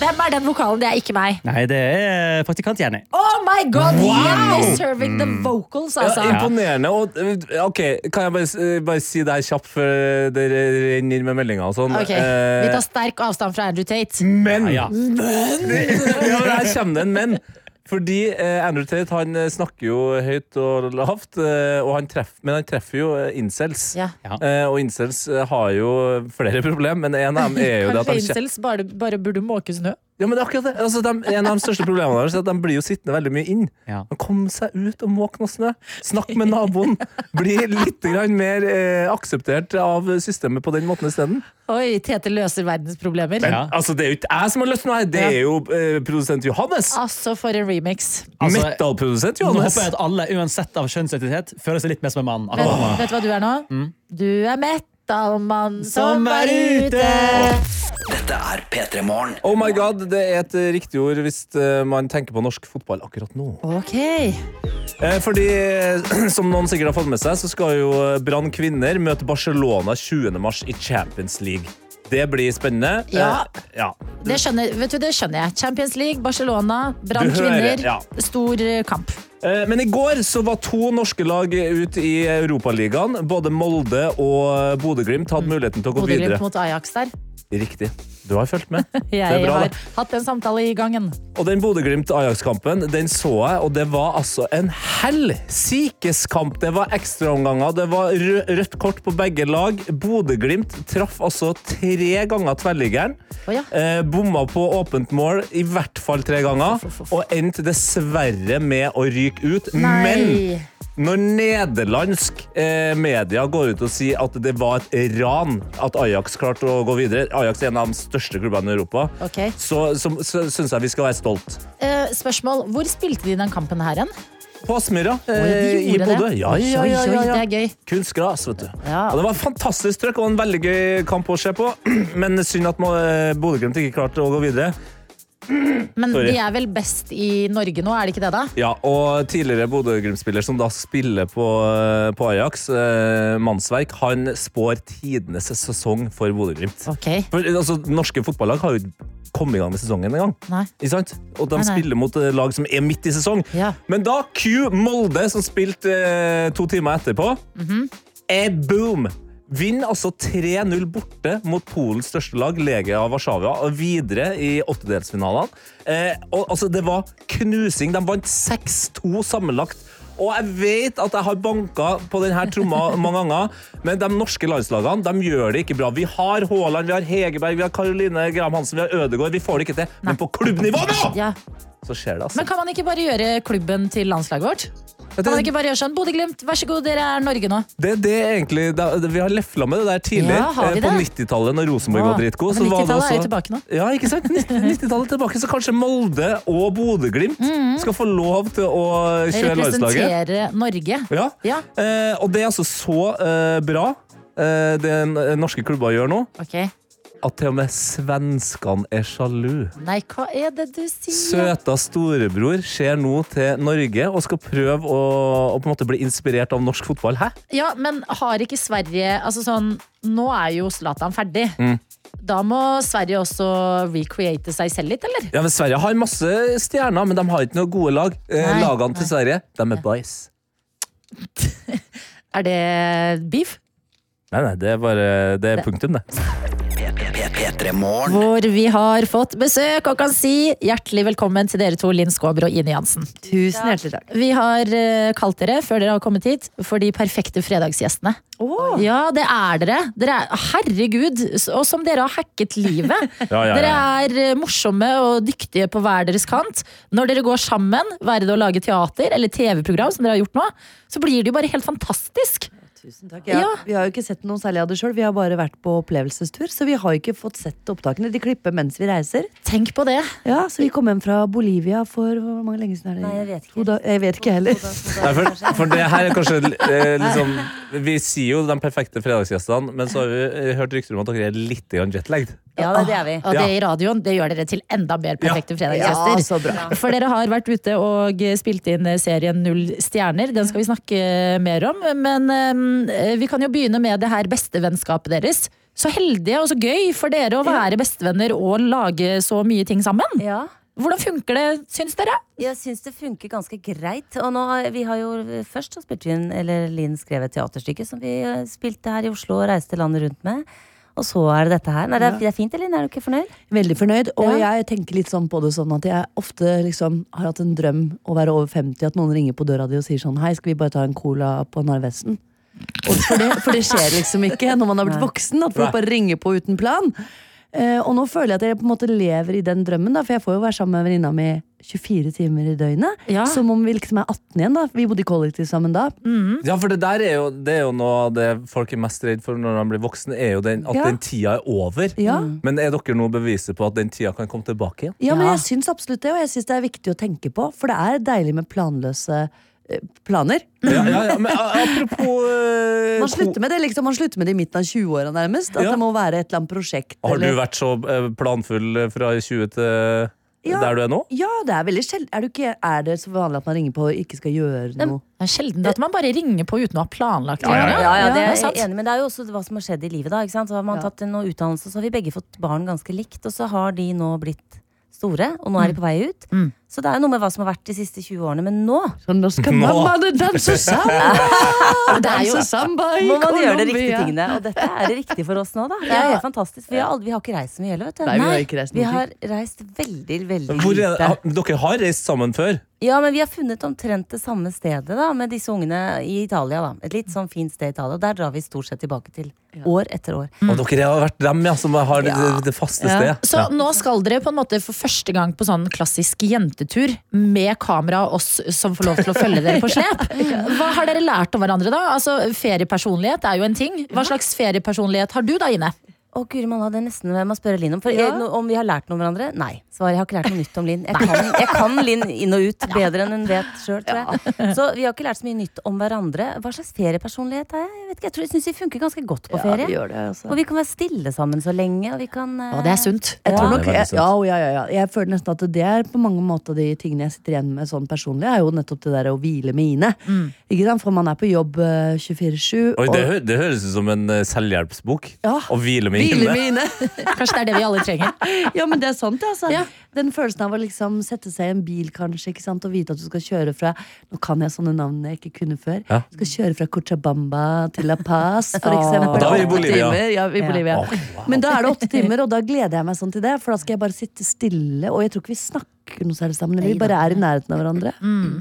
Hvem er den vokalen? Det er ikke meg.
Nei, det er eh, praktikant Jenny.
Oh my god!
Wow! Mm.
Jenny serving the vocals, altså.
Ja, imponerende. Og, eh, ok, Kan jeg bare, s- eh, bare si det her kjapt før dere renner inn med meldinger og sånn?
Ok,
Eh,
Vi tar sterk avstand fra Andrew Tate.
men ja,
Ja.
men Her kommer det en men. Fordi eh, Andrew Tate han eh, snakker jo høyt og lavt, eh, og han treff, men han treffer jo eh, incels.
Ja.
Ja.
Eh, og incels eh, har jo flere problemer, men en av dem er jo det at
Kanskje
han kje-
incels bare, bare burde måke snø?
Ja, men det er akkurat det. Altså, de, en av de største problemene deres er at de blir jo sittende veldig mye inn.
Ja.
Men kom seg ut og måk noe snø. Snakk med naboen. Bli litt grann mer eh, akseptert av systemet på den måten isteden.
Oi, Tete løser verdens problemer.
Ja.
Altså, det er jo ikke jeg som har løst noe her, det er jo eh, produsent Johannes.
Altså, for en remix.
Altså,
Metal-produsent
Nå
Johannes.
håper jeg at alle, uansett av kjønnsidentitet, føler seg litt mer som en mann. Altså.
Vet,
akkurat nå.
vet du hva du er nå?
Mm.
Du er metalmann
Som er ute!
Dette er P3 Morgen.
Oh my god, det er et eh, riktig ord hvis eh, man tenker på norsk fotball akkurat nå.
Ok.
Eh, Fordi, eh, som noen sikkert har fått med seg, så skal jo eh, Brann kvinner møte Barcelona 20. mars i Champions League. Det blir spennende.
Ja.
Eh, ja.
Det skjønner, vet du, det skjønner jeg. Champions League, Barcelona, Brann
Du hører,
kvinner.
ja.
Stor eh, kamp.
Eh, Men i går så var to norske lag ute i Europaligaen. Både Molde og Bodø-Glimt hadde muligheten til å gå
Mm. Bodø-Glimt
videre.
mot Ajax der.
Riktig. Du har fulgt med. Det
Jeg
er bra,
har
det.
hatt en samtale i gangen.
Og den Bodø-Glimt-Ajax-kampen, den så jeg, og det var altså en helsikes kamp. Det var ekstraomganger, det var rø- rødt kort på begge lag. Bodø-Glimt traff altså tre ganger tverrliggeren.
Å ja.
eh, bomma på åpent mål i hvert fall tre ganger, og endte dessverre med å ryke ut. Men
Nei.
når nederlandsk eh, media går ut og sier at det var et ran at Ajax klarte å gå videre Ajax er en av de største klubbene i Europa.
Ok.
Så, så, så syns jeg vi skal være stolt.
Eh, spørsmål. Hvor spilte de den kampen her hen?
På Aspmyra
de
eh, i
gjorde det.
Bodø. Ja, ja,
Oi,
ja,
oi,
ja, ja.
det er gøy.
Kunst gras, vet du.
Ja.
Og det var fantastisk trøkk og en veldig gøy kamp å se på. Men synd at må- eh, Bodø-Glimt ikke klarte å gå videre.
Men
Sorry.
de er vel best i Norge nå, er de ikke det, da?
Ja, og tidligere Bodø-Glimt-spiller som da spiller på, eh, på Ajax, eh, Mannsverk, han spår tidenes sesong for Bodø-Glimt.
Ok.
For, eh, altså, norske fotballag har jo ikke kommet i gang med sesongen engang.
Nei.
Ikke sant? Og de
Nei, nei.
spiller mot eh, lag som er midt i sesong.
Ja.
Men da Q Molde, som spilte eh, to timer etterpå,
Mhm.
er boom! Vinner altså 3-0 borte mot Polens største lag, Legia Warszawa, og videre i åttedelsfinalene. Eh, og, altså, det var knusing. De vant 6-2 sammenlagt. Og jeg vet at jeg har banka på denne tromma mange ganger, men de norske landslagene de gjør det ikke bra. Vi har Haaland, vi har Hegerberg, vi har Karoline Graham Hansen, vi har Ødegaard. Vi får det ikke til. Men på klubbnivå nå!
Ja.
Så skjer det, altså.
Men kan man ikke bare gjøre klubben til landslaget vårt? Kan man ikke bare gjøre sånn, Bodø-Glimt, vær så god, dere er Norge nå.
Det, det er egentlig, da- Vi har lefla med det der tidligere.
Ja, har vi
Eh, På
det?
90-tallet, når Rosenborg
Ja,
var dritgod.
men
så var
90-tallet
det
Altså, er jo
også-
tilbake nå.
Ja, ikke sant? 90- 90-tallet er tilbake, Så kanskje Molde og Bodø-Glimt
Mm.
skal få lov til å kjøre landslaget.
Representere Norge.
Ja.
Ja.
Eh, og det er altså så eh, bra, eh, det n- norske klubber gjør nå,
Ok.
at til og med svenskene er sjalu.
Nei, hva er det du sier?
Søta storebror ser nå til Norge og skal prøve å, å på en måte bli inspirert av norsk fotball. Hæ?
Ja, men har ikke Sverige Altså sånn, nå er jo Zlatan ferdig.
Mm.
Da må Sverige også recreate seg selv litt, eller?
Ja, men Sverige har masse stjerner, men de har ikke noen gode lag. Eh,
Nei,
Lagene til Sverige, de er bajs.
Er det beef?
Nei, nei, det er bare det er punktum, det.
P3 Morgen.
Hvor vi har fått besøk og kan si hjertelig velkommen til dere to, Linn Skåber og Ine Jansen.
Tusen hjertelig takk.
Vi har eh, kalt dere, før dere har kommet hit, for de perfekte fredagsgjestene. Ja, det er dere. dere er, herregud, s- og som dere har hacket livet.
Ja, ja, ja.
Dere er eh, morsomme og dyktige på hver deres kant. Når dere går sammen, være det å lage teater eller TV-program, som dere har gjort nå, så blir det jo bare helt fantastisk.
Tusen takk. Ja,
Ja.
Vi har jo ikke sett noe særlig av det sjøl. Vi har bare vært på opplevelsestur, så vi har jo ikke fått sett opptakene. De klipper mens vi reiser.
Tenk på det.
Ja, Så vi kom hjem fra Bolivia for hvor mange lenge siden er det? Nei, jeg vet ikke. jeg vet ikke heller.
Nei, for, for det her er kanskje eh, liksom Vi sier jo de perfekte fredagsgjestene, men så har vi eh, hørt rykter om at dere er litt grann jetlagged.
Ja, det er vi.
Og det
Ja.
i radioen det gjør dere til enda mer perfekte
Ja,
fredagsgjester.
så bra.
For dere har vært ute og spilt inn serien Null stjerner. Den skal vi snakke mer om. Men eh, vi kan jo begynne med det her bestevennskapet deres. Så heldige og så gøy for dere å være bestevenner og lage så mye ting sammen.
Ja.
Hvordan funker det, syns dere?
Jeg syns det funker ganske greit. Og nå, har- vi har jo først så spilte vi inn, eller Linn skrev et teaterstykke som vi eh, spilte her i Oslo og reiste landet rundt med. Og så er det dette her. Nei, det er, det er fint, Linn. Er du ikke fornøyd?
Veldig fornøyd. Og jeg tenker litt sånn på det sånn at jeg ofte liksom har hatt en drøm å være over 50, at noen ringer på døra di og sier sånn Hei, skal vi bare ta en cola på Narvesen? Og For det, for det skjer liksom ikke når man har blitt voksen, at folk bare ringer på uten plan. Eh, og nå føler jeg at jeg på en måte lever i den drømmen, da, for jeg får jo være sammen med venninna mi 24 timer i døgnet.
Ja. Mm.
Som om vi liksom er 18 igjen, da. Vi bodde i kollektiv sammen da.
Ja, for det der er jo, det er jo noe av det folk er mest redd for når de blir voksne, er jo den, at
Ja.
den tida er over.
Ja.
Men er dere nå beviset på at den tida kan komme tilbake igjen?
Ja, men
Ja.
jeg syns absolutt det, og jeg syns det er viktig å tenke på. For det er deilig med planløse eh, planer.
Ja, ja, ja, men a- apropos eh,
Man slutter med det liksom, man slutter med det i midten av 20-åra nærmest. At
Ja.
det må være et eller annet prosjekt.
Har du
eller-
vært så eh, planfull fra 20 til eh,
Ja.
der du er nå?
Ja, det er veldig sjelden. Er, du ikke- er det så vanlig at man ringer på og ikke skal gjøre noe?
Det er sjelden at man bare ringer på uten å ha planlagt det.
Ja, ja, det er
sant.
jeg enig, men det er jo også hva som har skjedd i livet, da. Ikke sant? Så har man
Ja.
tatt noe utdannelse, så har vi begge fått barn ganske likt, og så har de nå blitt store, og nå er de på vei ut. Så det er jo noe med hva som har vært de siste 20 årene. Men nå
Sånn, nå skal mammaene danse samba!
Det er jo-
Danse samba i
må man
Colombia.
gjøre de riktige tingene. Og dette er det riktige for oss nå, da. Det er
Ja.
helt fantastisk. for Vi har, aldri, vi har ikke reist så mye heller, vet du.
Nei, vi har ikke reist
vi
noen
har reist veldig, veldig
Hvor er,
lite.
ha- dere har reist sammen før?
Ja, men vi har funnet omtrent det samme stedet da, med disse ungene i Italia. da. Et litt sånn fint sted i Italia. Og der drar vi stort sett tilbake til. År etter år.
Mm.
Og dere har vært dem ja, som har det, det faste stedet?
Så nå skal dere på en måte for første gang på sånn klassisk jentetur med kamera og oss som får lov til å følge dere på slep. Hva har dere lært om hverandre da? Altså, feriepersonlighet er jo en ting. Hva slags feriepersonlighet har du da, Ine?
Å, Guri malla, det er nesten hvem jeg må spørre Linn om. For eh, no- Om vi har lært noe om hverandre? Nei. Svaret jeg har ikke lært noe nytt om Linn. Jeg kan, jeg kan Linn inn og ut bedre enn hun vet sjøl, tror jeg. Så vi har ikke lært så mye nytt om hverandre. Hva slags feriepersonlighet er jeg? Jeg vet ikke, jeg tror jeg syns vi funker ganske godt på
Ja,
ferie.
vi gjør det, altså.
Og vi kan være stille sammen så lenge, og vi kan eh,
Ja, det er sunt.
Jeg tror
Ja.
nok,
Det er
jeg,
veldig
ja, ja, ja, ja. jeg føler nesten at det er på mange måter de tingene jeg sitter igjen med sånn personlig, er jo nettopp det der å hvile med Ine. Ikke sant? For man er på jobb eh, 24-7.
Oi,
og-
det, hø det høres ut som en eh, selvhjelpsbok.
Ja.
Å hvile med Ine.
Hvile med Ine.
Kanskje det er det vi alle trenger.
Ja, men det er sant, det, altså.
Ja.
Den følelsen av å liksom sette seg i en bil kanskje, ikke sant? og vite at du skal kjøre fra Nå kan jeg sånne navn jeg ikke kunne før.
Ja.
Du skal kjøre fra Cochabamba til La Paz, for eksempel.
Da er vi i
Åtte
Bolivia.
Timer. Ja, i
Ja.
Bolivia.
Å, wow.
Men da er det åtte timer, og da gleder jeg meg sånn til det. For da skal jeg bare sitte stille, og jeg tror ikke vi snakker noe særlig sammen. Vi bare er i nærheten av hverandre.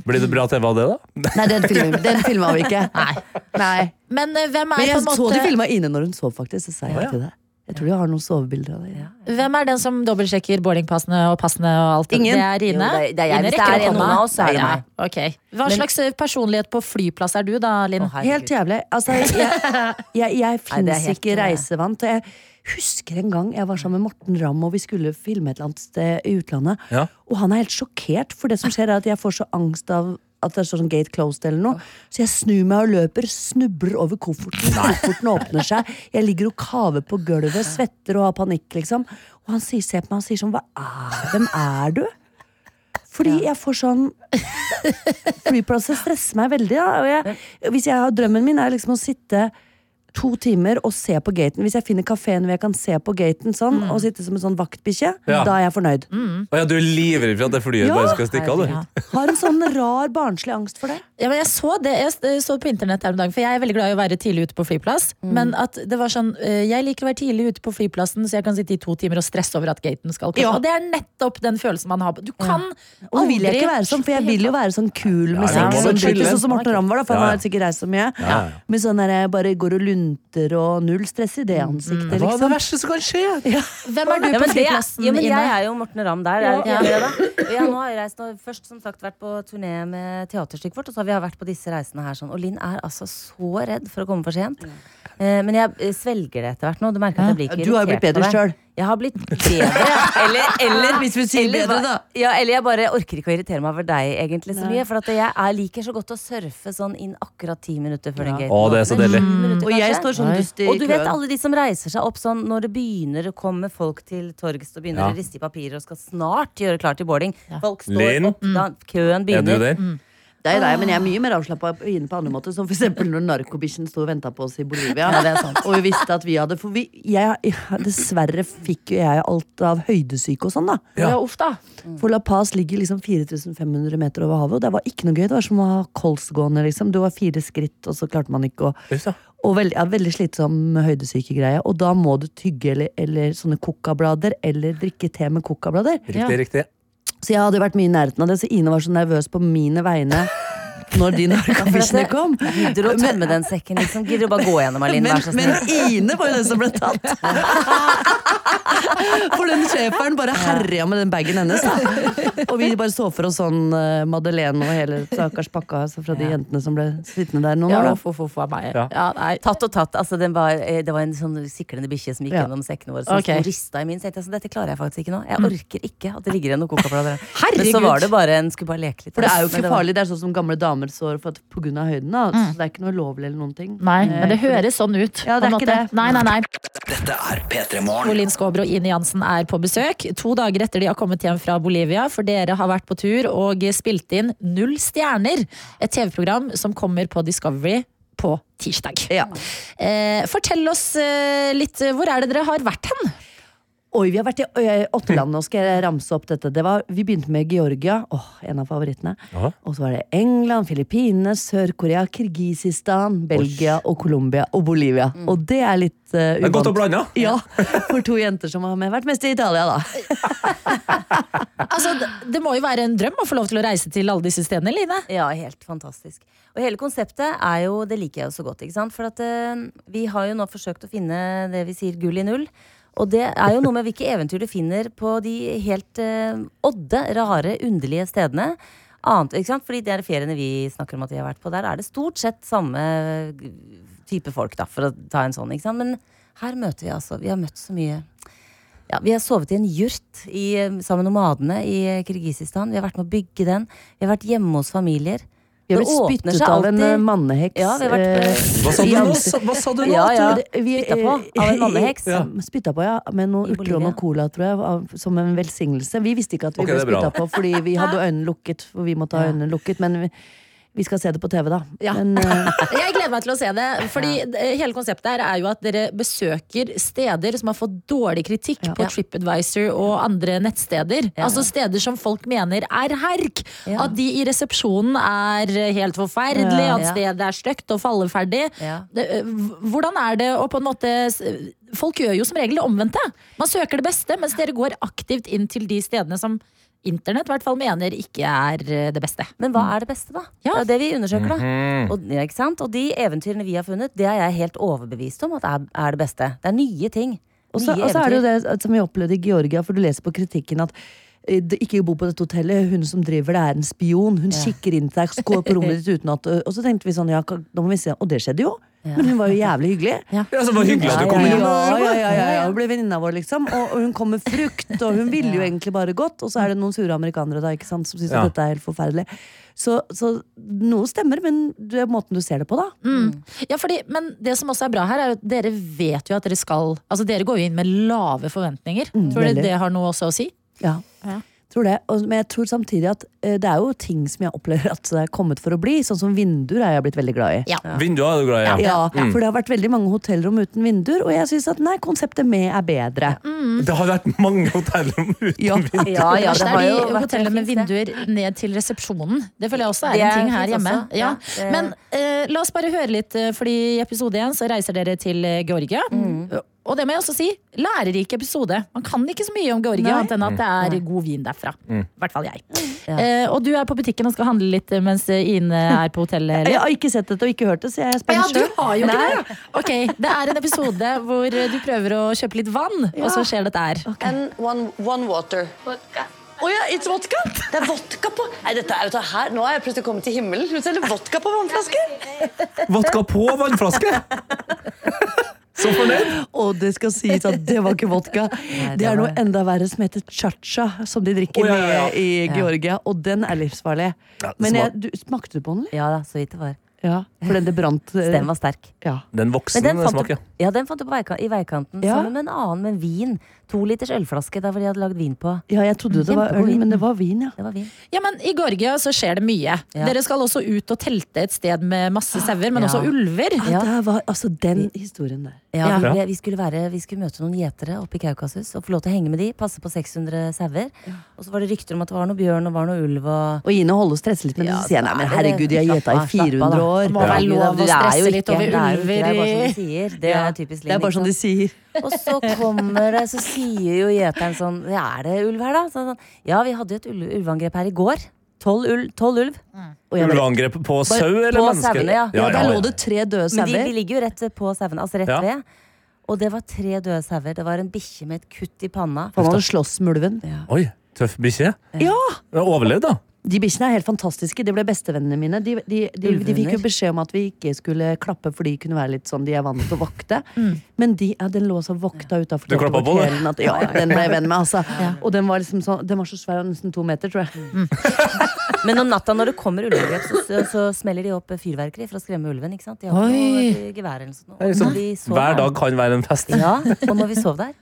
Blir det bra TV av det, da?
Nei, den filmen, den filmen vi ikke.
Nei.
Nei.
Men eh, hvem er, på
Men jeg
en
så de
måte,
filma Ine når hun sov, faktisk. Så sa jeg
Å, ja.
til det. Jeg tror de har noen sovebilder av det.
hvem er den som dobbeltsjekker boardingpassene og passene og alt?
Ingen.
Det er Ine.
Jo, det er- det er jeg.
Ine
Hvis det
rekker
er
opp
noen
hånda.
av oss, så er det
Ja,
meg.
ok. Hva slags eh, personlighet på flyplass er du da, Linn?
Å, herregud.
Helt jævlig. Altså, jeg, jeg, jeg
Nei, det er
fins
helt- eh,
ikke reisevant. Og jeg husker en gang jeg var sammen med Morten Ramm, og vi skulle filme et eller annet sted i utlandet.
Ja.
Og han er helt sjokkert, for det som skjer, er at jeg får så angst av at det står sånn gate closed eller noe. Så jeg snur meg og løper, snubler over kofferten. Kofferten åpner seg. Jeg ligger og kaver på gulvet, svetter og har panikk, liksom. Og han sier, ser på meg og sier sånn, hva er Hvem er du? Fordi jeg får sånn Flyplasser stresser meg veldig. Da. Og jeg, hvis jeg har Drømmen min er liksom å sitte to timer og se på gaten. Hvis jeg finner kafeen hvor jeg kan se på gaten sånn, og sitte som en sånn vaktbikkje,
Mm. Ja.
da er jeg fornøyd.
Å ja, du er livredd for at det flyet
Ja.
bare skal stikke av,
Ja.
du.
Har en sånn rar barnslig angst for det.
Ja, men jeg så det jeg s- så det på internett her om dagen, for jeg er veldig glad i å være tidlig ute på flyplass.
Mm.
Men at det var sånn eh, Jeg liker å være tidlig ute på flyplassen, så jeg kan sitte i to timer og stresse over at gaten skal komme.
Ja.
Og det er nettopp den følelsen man har. Du kan aldri
Og det vil jeg ikke være sånn, for jeg vil jo være sånn kul med
Ja, men
sex.
må
Sånn
du chille?
typisk sånn som Morten Ramm var, da, for
Ja, ja.
han har sikkert reist så mye.
Ja, ja.
Men sånn der jeg bare går og lunter og null stress i det ansiktet,
Mm, Hva er det
liksom.
verste som kan skje?
Hvem er du på
Ja, men, det,
flyplassen,
ja, men
Ine?
jeg er jo Morten Ramm der. Er det ikke
Ja.
det, da? Og Jeg nå har jeg reist, nå, først som sagt vært på turné med teaterstykket vårt, og så har vi vært på disse reisene her sånn. Og Linn er altså så redd for å komme for sent. Eh, men jeg eh, svelger det etter hvert nå. Du merker at jeg blir ikke
Du har jo
irritert
blitt bedre
av deg.
selv.
Jeg har blitt bedre. Eller, eller
Hvis vi sier
eller,
bedre,
hva-
da.
Ja, eller jeg bare orker ikke å irritere meg over deg egentlig så mye. For at jeg er, liker så godt å surfe sånn inn akkurat ti minutter før den gaten
Å, det er så
åpner.
deilig.
Mm. Ti minutter,
Og jeg
kanskje.
står sånn dust i
Og du vet
køen.
alle de som reiser seg opp sånn når det begynner å komme folk til torgs og begynner
Ja.
å riste i papirer og skal snart gjøre klar til boarding. Folk står
Linn?
opp da
Mm.
køen
Er du
begynner.
der?
Det er deg, men jeg
Ah.
er mye mer avslappa inne på andre måter. Som for eksempel når narkobikkjen sto og venta på oss i Bolivia. Og vi visste at vi hadde For vi, jeg, jeg, dessverre fikk jo jeg alt av høydesyke og sånn, da. Mm.
Ja, uff da.
For La Paz ligger liksom 4500 meter over havet, og det var ikke noe gøy. Det var som å ha kolsgående, liksom. Det var fire skritt, og så klarte man ikke å
Uff da.
Og veldig, ja, veldig slitsom høydesykegreie. Og da må du tygge eller, eller sånne kokablader, eller drikke te med kokablader.
Riktig, riktig.
Så jeg hadde jo vært mye i nærheten av det, så Ine var så nervøs på mine vegne når de narkobikkjene kom.
Gidder du å tømme den sekken? liksom Gidder du bare gå gjennom, Aline?
Men,
Vær så
men
snill.
Ine var jo den som ble tatt. For den schæferen bare herja med den bagen hennes. Da. Og vi bare så for oss sånn eh, Madeleine og hele stakkars pakka altså, fra de jentene som ble sittende der noen
Ja,
år.
uff, uff, uff av meg.
Ja.
Ja, nei.
Tatt og tatt. altså den var, eh, Det var en sånn siklende bikkje som gikk
Ja. Mm.
gjennom sekkene våre. Som
Ok.
sto og rista i min. Så tenkte jeg sånn, dette klarer jeg faktisk ikke nå. Jeg orker ikke at det ligger igjen noen kokablader. her. Men så
Herregud.
var det bare en skulle bare leke litt.
For det er jo
Men
ikke
var- Mm.
farlig, det er sånn som gamle damer sår for at- på grunn av høyden. Da. Så det er ikke noe lovlig eller noen ting.
Nei, men det høres sånn ut.
Eh, Ja, det er
på en
ikke
måte.
det.
Nei, nei, nei.
Dette er P3 Morgen.
Hvor Linn Skåber og Ine Jansen er på besøk. To dager etter de har kommet hjem fra Bolivia, for dere har vært på tur og spilt inn Null stjerner. Et TV-program som kommer på Discovery på tirsdag.
Ja.
Eh, fortell oss eh, litt, eh, hvor er det dere har vært hen?
Oi, vi har vært i ø, åtte land. Nå skal jeg ramse opp dette. Det var, vi begynte med Georgia, åh, en av favorittene.
Aha.
Og så var det England, Filippinene, Sør-Korea, Kirgisistan, Belgia og Colombia og Bolivia.
Mm.
Og det er litt uh,
Det er godt å blande.
Ja, for to jenter som har med vært mest i Italia, da.
Altså, det- det må jo være en drøm å få lov til å reise til alle disse stedene, Line.
Ja, helt fantastisk. Og hele konseptet er jo Det liker jeg jo så godt. ikke sant? For at eh, vi har jo nå forsøkt å finne det vi sier gull i null. Og det er jo noe med hvilke eventyr du finner på de helt eh, odde, rare, underlige stedene. Annet, ikke sant? Fordi det er feriene vi snakker om at vi har vært på. Der er det stort sett samme eh, type folk, da, for å ta en sånn. ikke sant? Men her møter vi altså Vi har møtt så mye ja, vi har sovet i en jurt i, eh, sammen med nomadene i eh, Kirgisistan. Vi har vært med å bygge den. Vi har vært hjemme hos familier.
Vi har blitt spyttet av en eh, manneheks.
Ja, vi har vært,
eh,
eh,
Hva sa du
i
nå?
ansikt-
Hva sa du nå?
Ja, ja.
Det- vi-
Spyttet på av en manneheks.
Ja. Spytta på, ja. Med noe
I
urtron
Bolivia.
og cola, tror jeg. Av, som en velsignelse. Vi visste ikke at vi
Ok,
ble
det er bra.
spytta på, fordi vi hadde øynene lukket. For vi måtte ha øynene lukket. Men vi, vi skal se det på TV, da.
Ja.
Men, eh,
Jeg gleder meg til å se det. Fordi eh, hele konseptet her er jo at dere besøker steder som har fått dårlig kritikk på TripAdvisor og andre nettsteder. Altså steder som folk mener er herk.
Ja.
At de i resepsjonen er eh, helt forferdelig,
Ja.
at stedet er stygt og falleferdig.
Ja.
Det, eh, h- Hvordan er det å på en måte s- Folk gjør jo som regel det omvendte. Man søker det beste, mens dere går aktivt inn til de stedene som internett i hvert fall mener ikke er eh, det beste.
Men hva er det beste, da?
Ja.
Det er jo det vi undersøker, da. og, ja, ikke sant? og de eventyrene vi har funnet, det er jeg helt overbevist om at er, er det beste. Det er nye ting.
Og så
nye
og så er det jo
eventyr.
det at- som vi opplevde i Georgia, for du leser på kritikken at eh, det- ikke bo på dette hotellet, hun som driver det er en spion. Hun kikker inn til deg, så går på rommet ditt uten at Og så tenkte vi sånn, ja, da må vi se. Og det skjedde jo. Men hun var jo jævlig hyggelig.
Ja, så var det hyggelig at du kom
ja,
innom.
Ja, ja, ja, ja, ja. Hun ble venninna vår, liksom. Og, og hun kom med frukt, og hun ville jo egentlig bare godt. Og så er det noen sure amerikanere da, ikke sant, som syns
Ja.
at dette er helt forferdelig. Så, så noe stemmer, men det er måten du ser det på, da.
Mm. Ja, fordi, men det som også er bra her, er jo at dere vet jo at dere skal Altså, dere går jo inn med lave forventninger. Tror dere
veldig.
det har noe også å si?
Ja.
Ja.
Tror det. Og, men jeg tror samtidig at eh, det er jo ting som jeg opplever at det er kommet for å bli. Sånn som vinduer er jeg blitt veldig glad i.
Ja.
Vinduer er du glad i. ja.
Ja, For det har vært veldig mange hotellrom uten vinduer, og jeg syns at nei, konseptet med er bedre.
Mm.
Det har vært mange hotellrom uten
Ja.
vinduer.
Ja, ja, det
Kanskje
har
det
jo
er de
vært
hotellene med
fint, det.
vinduer ned til resepsjonen. Det føler jeg også er
Det
en ting
er
her
fint
hjemme.
også.
Ja.
Ja, det-
Men eh, la oss bare høre litt, eh, fordi i episode én så reiser dere til eh, Georgia.
Mm.
Og det må jeg også si, lærerik episode. Man kan ikke så mye om Georgia annet enn at det er
Mm.
god vin derfra. I hvert fall jeg. Eh, og du er på butikken og skal handle litt eh, mens eh, Ine er på hotellet. eller?
Jeg har ikke sett dette og ikke hørt det, så jeg er
Ja,
spent
du
selv.
har jo ikke det! Ok, Det er en episode hvor du prøver å kjøpe litt vann, og så skjer dette her.
And one, one water. Vodka. Å ja, it's vodka! Det er vodka på Nei, dette er, vet du, her, Nå er jeg plutselig kommet til himmelen. Hun selger vodka på vannflasker!
Vodka på vannflaske! Så fornøyd.
Og det skal sies at det var ikke vodka. det, er noe enda verre som heter chacha, som de drikker
Å, ja, ja, ja.
med i Georgia. Og den er livsfarlig.
Ja,
Men
smak-
jeg, du, smakte du på den, eller?
Ja da, så vidt det var.
Ja, for den det brant eh,
Den var sterk.
ja.
Den
Men
voksen
Øh. den fant, du,
smaker.
ja, den fant du på veika, i veikanten
Ja.
sammen med en annen med vin. To liters ølflaske der hvor de hadde lagd vin på.
ja, jeg trodde det var
Kjempegod
øl,
vin.
men det var vin, ja.
Det var vin.
Ja, men I Georgia så skjer det mye.
Ja.
Dere skal også ut og telte et sted med masse sauer, men
Ja.
også ulver.
Ja.
Det var altså den historien der.
Ja,
Ja.
vi, ble, vi, skulle være, vi skulle møte noen gjetere oppe i Kaukasus og få lov til å henge med de. Passe på 600 sauer. Og så var det rykter om at det var noe bjørn og var noe ulv. Og
Og Ine holder stresset litt, men så sier jeg nei, men
det-
herregud, jeg har gjeta i
Slapp av, slapp av,
400
da.
år.
Det må være
Herregud,
lov å
det er jo
stresse litt
ikke-
over
det er jo ikke- Det er bare
ulver
som de sier. Det
Ja,
er sånn typisk liksom.
det er bare som de sier.
Og så kommer det, så sier jo gjeteren sånn «Ja, Er det ulv her, da? Så, sånn, ja, vi hadde jo et ulv- ulveangrep her i går. Tolv ulv. Tolv ulv.
Mm.
Og jeg ble-
Ulveangrep på sau eller
på
mennesker?
sauene, ja.
ja,
ja,
der lå
ja.
det tre døde
Men de, de
sauer.
ligger jo rett på sauene. Altså rett
Ja.
ved. Og det var tre døde sauer. Det var en bikkje med et kutt i panna.
Han hadde slåss med ulven.
Oi, tøff bikkje.
Ja!
Den har Overlevd, da.
De bikkjene er helt fantastiske. De ble bestevennene mine. De, de, de, de fikk jo
Ulvevenner.
beskjed om at vi ikke skulle klappe, for de kunne være litt sånn de er vant til å vokte. Men de, Mm. ja, den lå så vokta utafor
Du klappa på, du?
At, ja, den ble jeg venn med, altså. Og den var liksom sånn Den var så svær, nesten to meter, tror jeg.
Men om natta når det kommer ulveangrep, så, så, så smeller de opp fyrverkeri for å skremme ulven. ikke sant? De har
Oi.
ikke noe gevær eller noe sånt. Og når vi sov
liksom Hver
der-
dag kan være en fest.
Ja, og når vi sov der,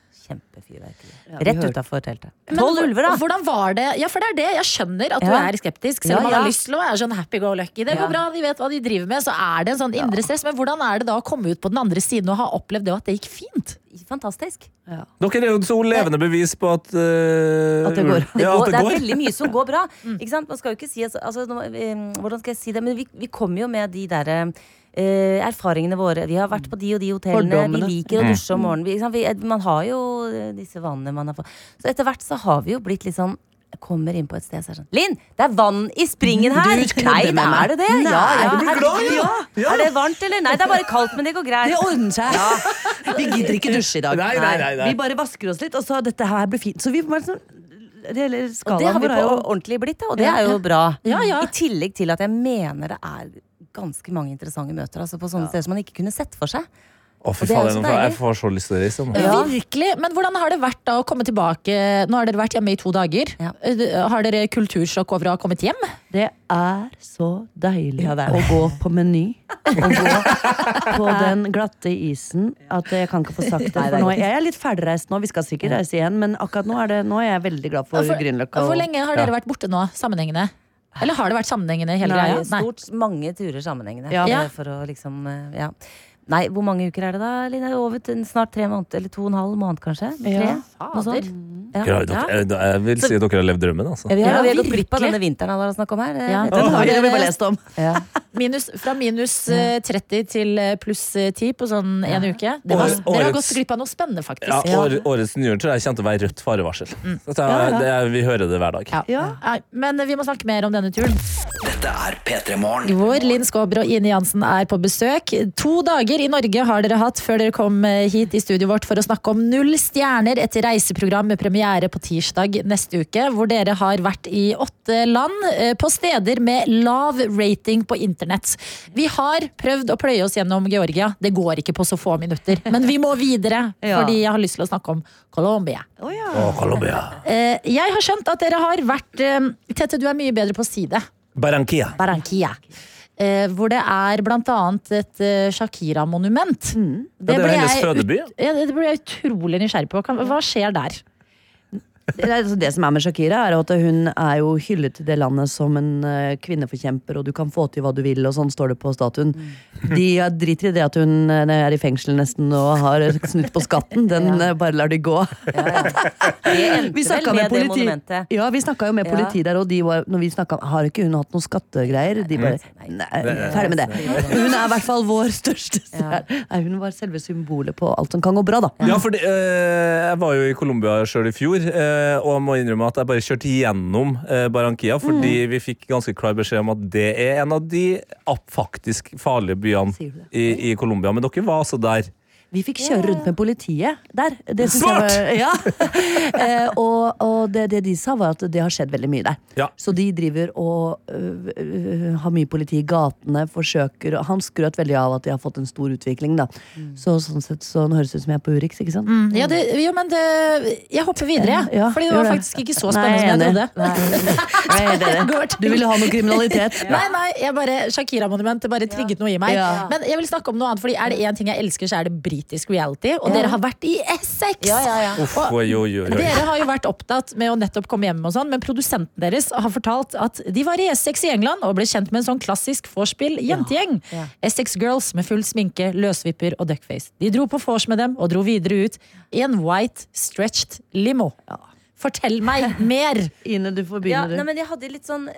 kjempefyrverkeri. Rett
hørte.
utafor teltet.
Men
Tolv
hvor-
ulver, da!
Hvordan var det? Ja, for det er det. Jeg skjønner at
Ja.
du er skeptisk, selv om
Ja,
man har
ja.
lyst til å være sånn happy go lucky. Det går
Ja.
bra, de vet hva de driver med, så er det en sånn indre stress. Men hvordan er det da å komme ut på den andre siden og ha opplevd det, og at det gikk fint?
fantastisk.
Dere er jo så levende bevis på at eh,
At det går.
Ja, at det
er
går.
veldig mye som går bra.
Mm.
Ikke sant? Man skal jo ikke si altså, altså, nå, eh, Hvordan skal jeg si det? Men vi, vi kommer jo med de der eh, erfaringene våre. Vi har vært på de og de hotellene.
Fordommene.
Vi liker å
Mm.
dusje om morgenen. Vi, ikke sant? Vi, eh, man har jo eh, disse vanene man har fått. Så etter hvert så har vi jo blitt litt sånn jeg kommer inn på et sted så er det sånn Linn, det er vann i springen her!
Du kødder
Nei,
med meg.
er det det? Ja,
Nei,
ja,
jeg blir glad,
herregud,
ja. Ja.
Er det varmt, eller? Nei, det er bare kaldt, men det går greit.
Det ordner seg. Vi gidder ikke dusje i dag.
Nei, nei, nei, nei.
Vi bare vasker oss litt, og så dette her blir fint. Så vi var sånn Hele
Og det
skalaen
har vi
vår er
på
jo
ordentlig blitt, da, og det
Ja,
er jo
ja.
bra.
Ja, ja.
I tillegg til at jeg mener det er ganske mange interessante møter altså på sånne steder som man ikke kunne sett for seg.
Å, fy
Og det er
faen,
jo så
jeg- jeg
deilig.
får så lyst til å reise. nå.
Virkelig. Men hvordan har det vært da å komme tilbake? Nå har dere vært hjemme i to dager. Eh, Har dere kultursjokk over å ha kommet hjem?
Det er så deilig å gå på Meny og gå på den glatte isen at jeg kan ikke få sagt det.
Nei, det er
For nå,
godt.
jeg er litt ferdigreist nå, vi skal sikkert reise igjen, men akkurat nå er, det, nå er jeg veldig glad for, Grünerløkka.
hvor
og-
lenge har dere vært borte nå? Sammenhengende? Eller har det vært sammenhengende hele
Nei,
greia?
stort mange turer sammenhengende.
Ja.
eh, For å liksom, eh, ja. Nei, hvor mange uker er det da, Line? Over til snart tre måneder, eller to og en halv måned kanskje? Tre? Noe sånt. Ja.
Dere har- dere-
Ja.
jeg- Jeg vil si at dere har levd drømmen, altså.
Ja, vi har,
Ja,
vi har gått glipp av
virkelig.
denne vinteren alle har snakket om her.
Ja.
Den har vi bare lest
om.
Minus, fra minus eh, 30 til eh, pluss eh, 10 på sånn en uke. Det var,
Årets-
dere har gått
årets-
glipp av noe spennende, faktisk.
Ja, år, årets nyår tror jeg kommer til å være rødt farevarsel.
Mm.
Så jeg,
Ja, ja.
Det, er- vi hører det hver dag.
Ja. Nei, Men vi må snakke mer om denne turen.
Dette er P3 Morgen.
Hvor Linn Skåber og Ine Jansen er på besøk. To dager i Norge har dere hatt før dere kom eh, hit i studio vårt for å snakke om Null stjerner, et reiseprogram med premiere på tirsdag neste uke, hvor dere har vært i åtte land eh, på steder med lav rating på internett. Vi har prøvd å pløye oss gjennom Georgia. Det går ikke på så få minutter, men vi må videre,
Ja.
fordi jeg har lyst til å snakke om Colombia.
Å, Colombia.
Eh, Jeg har skjønt at dere har vært eh, Tete, du er mye bedre på å si det.
Barranquilla.
Barranquilla. Eh, hvor det er blant annet et eh, Shakira-monument.
Ja, det er
ble
hennes
jeg ut-
fødeby.
Ja, det ble jeg utrolig nysgjerrig på. Kan, hva skjer der?
Det, er- altså, det som er med Shakira, er at hun er jo hyllet i det landet som en eh, kvinneforkjemper, og du kan få til hva du vil, og sånn står det på statuen. De eh, driter i det at hun eh, er i fengsel nesten og har snutt på skatten. Den eh, bare lar de gå.
Det endte
Vi
vel
snakka med
med det
politi.
monumentet.
Ja, vi snakka jo med
Ja.
politi der, og de var, når vi snakka Har ikke hun hatt noen skattegreier? De bare Nei, ferdig med det. Hun er i hvert fall vår største stjerne. Nei, Hun var selve symbolet på alt som kan gå bra, da.
Ja, fordi eh, Jeg var jo i Colombia sjøl i fjor, eh, og jeg må innrømme at jeg bare kjørte gjennom eh, Barranquilla, fordi vi fikk ganske klar beskjed om at det er en av de app- faktisk farlige byene i, i Colombia. Men dere var altså der.
Vi fikk kjøre rundt med politiet der. Det synes
Smart!
Jeg var, ja. eh, og og det, det de sa, var at det har skjedd veldig mye der.
Ja.
Så de driver og øh, øh, har mye politi i gatene, forsøker og Han skrøt veldig av at de har fått en stor utvikling, da. Så sånn sett så nå høres det ut som jeg er på Urix, ikke sant?
Ja, det, jo, men det, jeg hopper videre, jeg.
Ja,
Fordi det var
gjør det.
faktisk ikke så spennende som jeg
Nei,
trodde.
Nei, det er det.
Går til-
Du ville ha noe kriminalitet.
Nei, nei, jeg bare, Shakira-monumentet bare trigget noe i meg.
Ja.
Men jeg vil snakke om noe annet, fordi er det én ting jeg elsker, så er det britisk reality. Og dere har vært i Essex!
Uff,
Og-
oi, oi, oi, oi.
Dere har jo vært opptatt med å nettopp komme hjem, og sånn, men produsenten deres har fortalt at de var i Essex i England og ble kjent med en sånn klassisk vorspiel-jentegjeng. Essex Girls med full sminke, løsvipper og duckface. De dro på vors med dem og dro videre ut i en white stretched limo. Fortell meg mer!
Ine, du får
Ja, nei, men jeg hadde litt sånn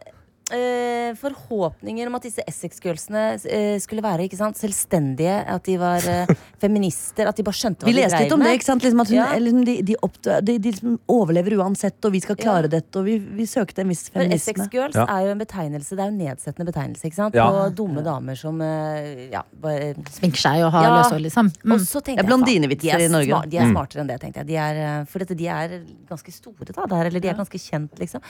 eh, forhåpninger om at disse Essex-girlsene eh, skulle være ikke sant, selvstendige. At de var eh, feminister. At de bare skjønte hva
Vi leste
de
litt om det. ikke sant? Liksom at hun,
Ja.
liksom de, de, oppdra- de, de liksom overlever uansett, og vi skal klare dette. Og vi, vi søkte en viss
For
feminisme.
Essex Girls
Ja.
er jo en betegnelse, det er jo en nedsettende betegnelse ikke sant?
Ja.
på dumme damer som eh, ja, bare
Sminker seg og har løshår, liksom. Mm.
Og så tenkte
Det er
jeg, faen,
blondinevitser
de er
i Norge.
smart- de er
Mm.
smartere enn det, tenkte jeg. De er, eh, for dette, de er ganske store da, der, eller de er ganske kjent, liksom.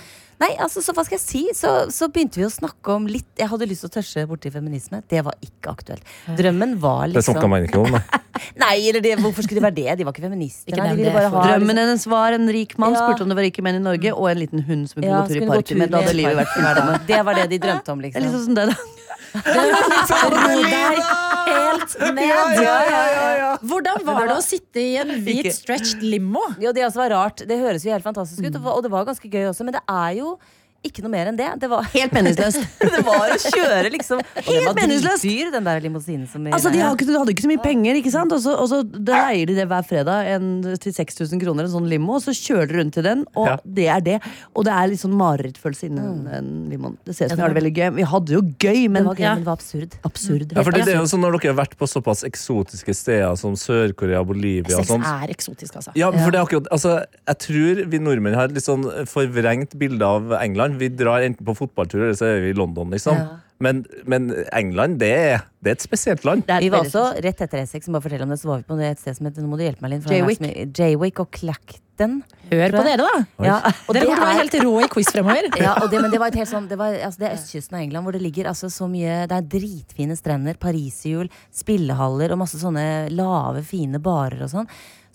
Nei, altså, så hva skal jeg si? Så, så begynte vi å snakke om litt Jeg hadde lyst til å tørse borti feminisme. Det var ikke aktuelt. Drømmen var
Det
liksom
snakka man ikke om. Nei.
Nei, eller det, hvorfor skulle de være det? De var ikke feminister.
Ikke
Nei,
nevn
de ville
det.
bare ha liksom-
Drømmen hennes var en rik mann,
Ja.
spurte om det var rike menn i Norge, og en liten hund som kunne
Ja,
gå tur i
skulle gå tur
parken. Men da hadde
i
livet vært
parken.
fullt av menn.
Det var det de drømte om,
Det
liksom.
er liksom sånn det, da.
Helt ned!
Ja, ja, ja, ja.
Hvordan var det å sitte i en hvit stretched limo?
Mm.
Jo, det også var rart. Det høres jo helt fantastisk ut, og- og det var ganske gøy også, men det er jo Ikke noe mer enn det. Det var helt
meningsløst.
det var å kjøre, liksom. Og den
Helt
var
meningsløst.
dritdyr, den der limousinen som vi
Altså, de, har ikke, de hadde ikke så mye penger, ikke sant? Og så, og så da leier de det hver fredag en, til 6000 kroner, en sånn limo, og så kjører de rundt til den, og
Ja.
det er det. Og det er litt sånn marerittfølelse innen
Mm.
en limoen. Det ser ut som vi har det veldig gøy. Vi hadde jo gøy, men
Det var gøy, men det var absurd.
Absurd.
Ja, for det, det er jo sånn Når dere har vært på såpass eksotiske steder som Sør-Korea, Bolivia og
Sex
sånn
er eksotisk, altså.
ja, for det er akkurat, altså, Jeg tror vi nordmenn har et litt sånn forvrengt bilde av England. Vi drar enten på fotballtur eller så er vi i London, liksom. Men, men England, det er, det er et spesielt land.
vi var også rett etter E6, som bare fortelle om det, så var vi på et sted som heter Nå må du hjelpe meg, Linn. for det har vært så mye- Jaywick og Clacton.
Hør på dere, da.
Ja.
Og dere kommer til å være helt rå i quiz fremover.
Ja, og det, men det var et helt sånn Det, var, altså, det er østkysten av England hvor det ligger altså, så mye Det er dritfine strender, pariserhjul, spillehaller og masse sånne lave, fine barer og sånn.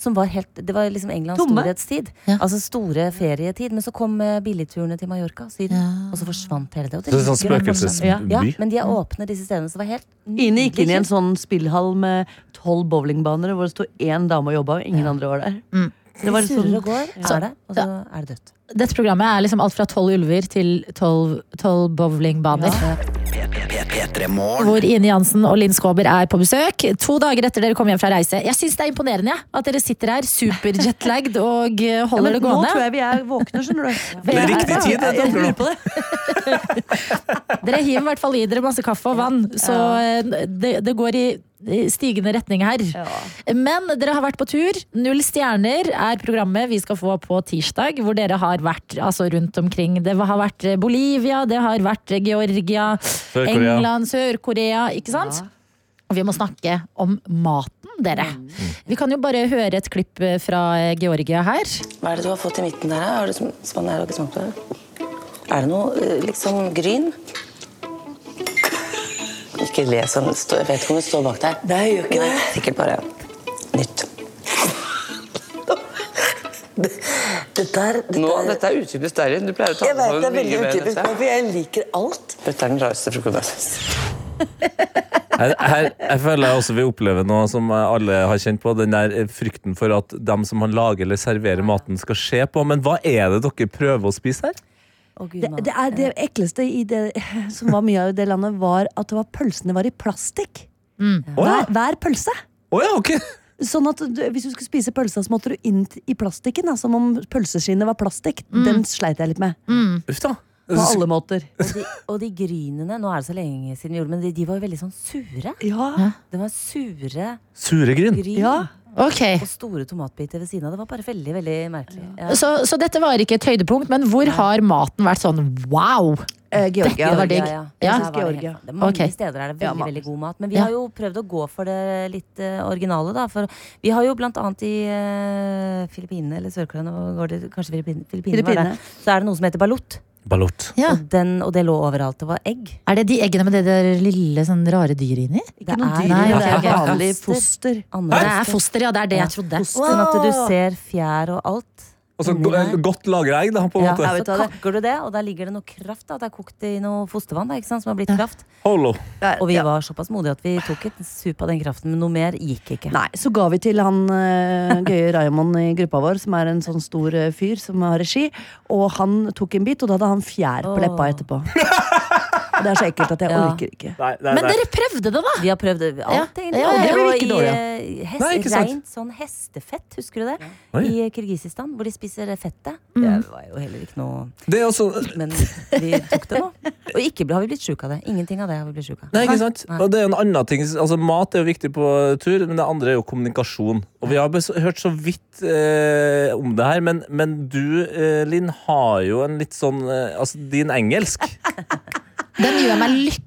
Som var helt, det var liksom Englands
Tomme.
storhetstid. Altså store ferietid. Men så kom eh, billigturene til Mallorca, Syden, og så forsvant hele det. Og
Så det er sånn
ligger en
spøkelsesby?
Ja, ja, men de er åpne, disse stedene. Så det var helt
Ine gikk inn i en sånn spillhall med tolv bowlingbaner, hvor det sto én dame og jobba, og ingen andre var der. Det var
Det surrer
sånn,
og
Ja.
går, er det, og så er det dødt.
Dette programmet er liksom alt fra tolv ulver til tolv tolv bowlingbaner. Hvor Ine Jansen og Linn Skåber er på besøk. To dager etter dere kom hjem fra reise. Jeg syns det er imponerende jeg, at dere sitter her superjetlagd og eh,
Ja,
holder
men
det
nå
gående.
tror jeg vi er våkne, skjønner du.
Det er riktig tid, det,
Jeg lurer på det.
Dere hiver i hvert fall i dere masse kaffe og vann, så eh, det, det går i i stigende retning her. Men dere har vært på tur. Null stjerner er programmet vi skal få på tirsdag, hvor dere har vært altså, rundt omkring. Det har vært eh, Bolivia, det har vært eh, Georgia,
Sør-Korea.
England, Sør-Korea, ikke sant? Og vi må snakke om maten, dere. Vi kan jo bare høre et klipp eh, fra eh, Georgia her.
Hva er det du har fått i midten der? da? Har du sm- spann er det ikke smakt på det? Er det noe eh, liksom gryn? Ikke le sånn. Stå, jeg vet ikke om det står bak der. Nei, jeg gjør ikke det. Sikkert bare nytt. det, det der det
Nå,
der-
dette er utypisk deg, Linn. Du pleier å ta
Jeg
med
vet det er
mye
veldig
mer enn
utypisk,
dette.
men for jeg liker alt.
Dette er den rareste frokosten jeg har spist.
Her, her, jeg føler jeg også vi opplever noe som alle har kjent på. Den der eh, frykten for at dem som han lager eller serverer maten, skal se på. Men hva er det dere prøver å spise her?
Det, det, er det ekleste i det, som var mye av det landet, var at det var, pølsene var i plastikk. Hver, hver pølse. Sånn at du, Hvis du skulle spise pølsa, så måtte du inn i plastikken. Da, som om pølseskinnet var plastikk. Den sleit jeg litt med.
Uff da.
På alle måter.
Og de, og de grynene, nå er det så lenge siden vi gjorde det, men de, de var jo veldig sånn sure.
Ja.
Det var sure
Sure gryn.
gryn
Ja.
Ok.
og store tomatbiter ved siden av. Det var bare veldig, veldig merkelig. Ja.
Så, så dette var ikke et høydepunkt, men hvor har maten vært sånn wow?
Eh,
Dette
Georgia.
var digg.
Ja,
Ja.
ja. Der var det helt
Georgia.
sant. Det er mange
Ok.
steder er det
Ja,
veldig
mange.
veldig god mat. Men vi
Ja.
har jo prøvd å gå for det litt eh, originale, da. For vi har jo blant annet i eh, Filippinene eller Sør-Korea, nå går det- kanskje Filippinene, Filippinene var det,
Filippinene.
så er det noe som heter balut.
Ballot.
Ja.
Og, den, og det lå overalt. Det var egg.
Er det de eggene med det der lille sånn rare dyret inni?
Ikke noe
er-
dyr.
Nei,
i det,
ok,
det er
ok.
vanlig
Foster.
foster.
Det
Annerledes.
er foster, ja. Det er det jeg trodde.
Sånn at du ser fjær og alt.
Altså,
inni der.
godt lagra egg, da, på en
Ja,
måte.
så kakker du det, og der ligger det noe kraft. Da. Det er kokt i noe fostervann da, ikke sant? som har blitt kraft.
Holo.
Og vi var såpass modige at vi tok et sup av den kraften, men noe mer gikk ikke.
Nei, så ga vi til han eh, gøye Raymond i gruppa vår, som er en sånn stor eh, fyr som har regi. Og han tok en bit, og da hadde han fjær på leppa etterpå. Og det er så ekkelt at jeg
Ja.
orker ikke.
Nei, nei,
Men
nei.
dere prøvde det, da!
Vi har prøvd alt,
Ja. Ja,
egentlig.
ja,
Og
ja.
det
Det
blir
var
ikke
i
dårlig,
eh, hest,
Nei, ikke sant.
rent sånn hestefett, husker du det?
Oi.
I Kirgisistan, hvor de spiser eh, fettet.
Mm.
Det var jo heller ikke noe
Det er også
Men vi tok det nå. Og ikke ble- har vi blitt sjuke av det. Ingenting av det har vi blitt sjuke av.
Nei, ikke sant?
Nei.
Og det er en annen ting Altså, Mat er jo viktig på tur, men det andre er jo kommunikasjon. Og Vi har bes- hørt så vidt eh, om det her, men, men du, eh, Linn, har jo en litt sånn eh, Altså, din engelsk
Den gjør meg lykkelig.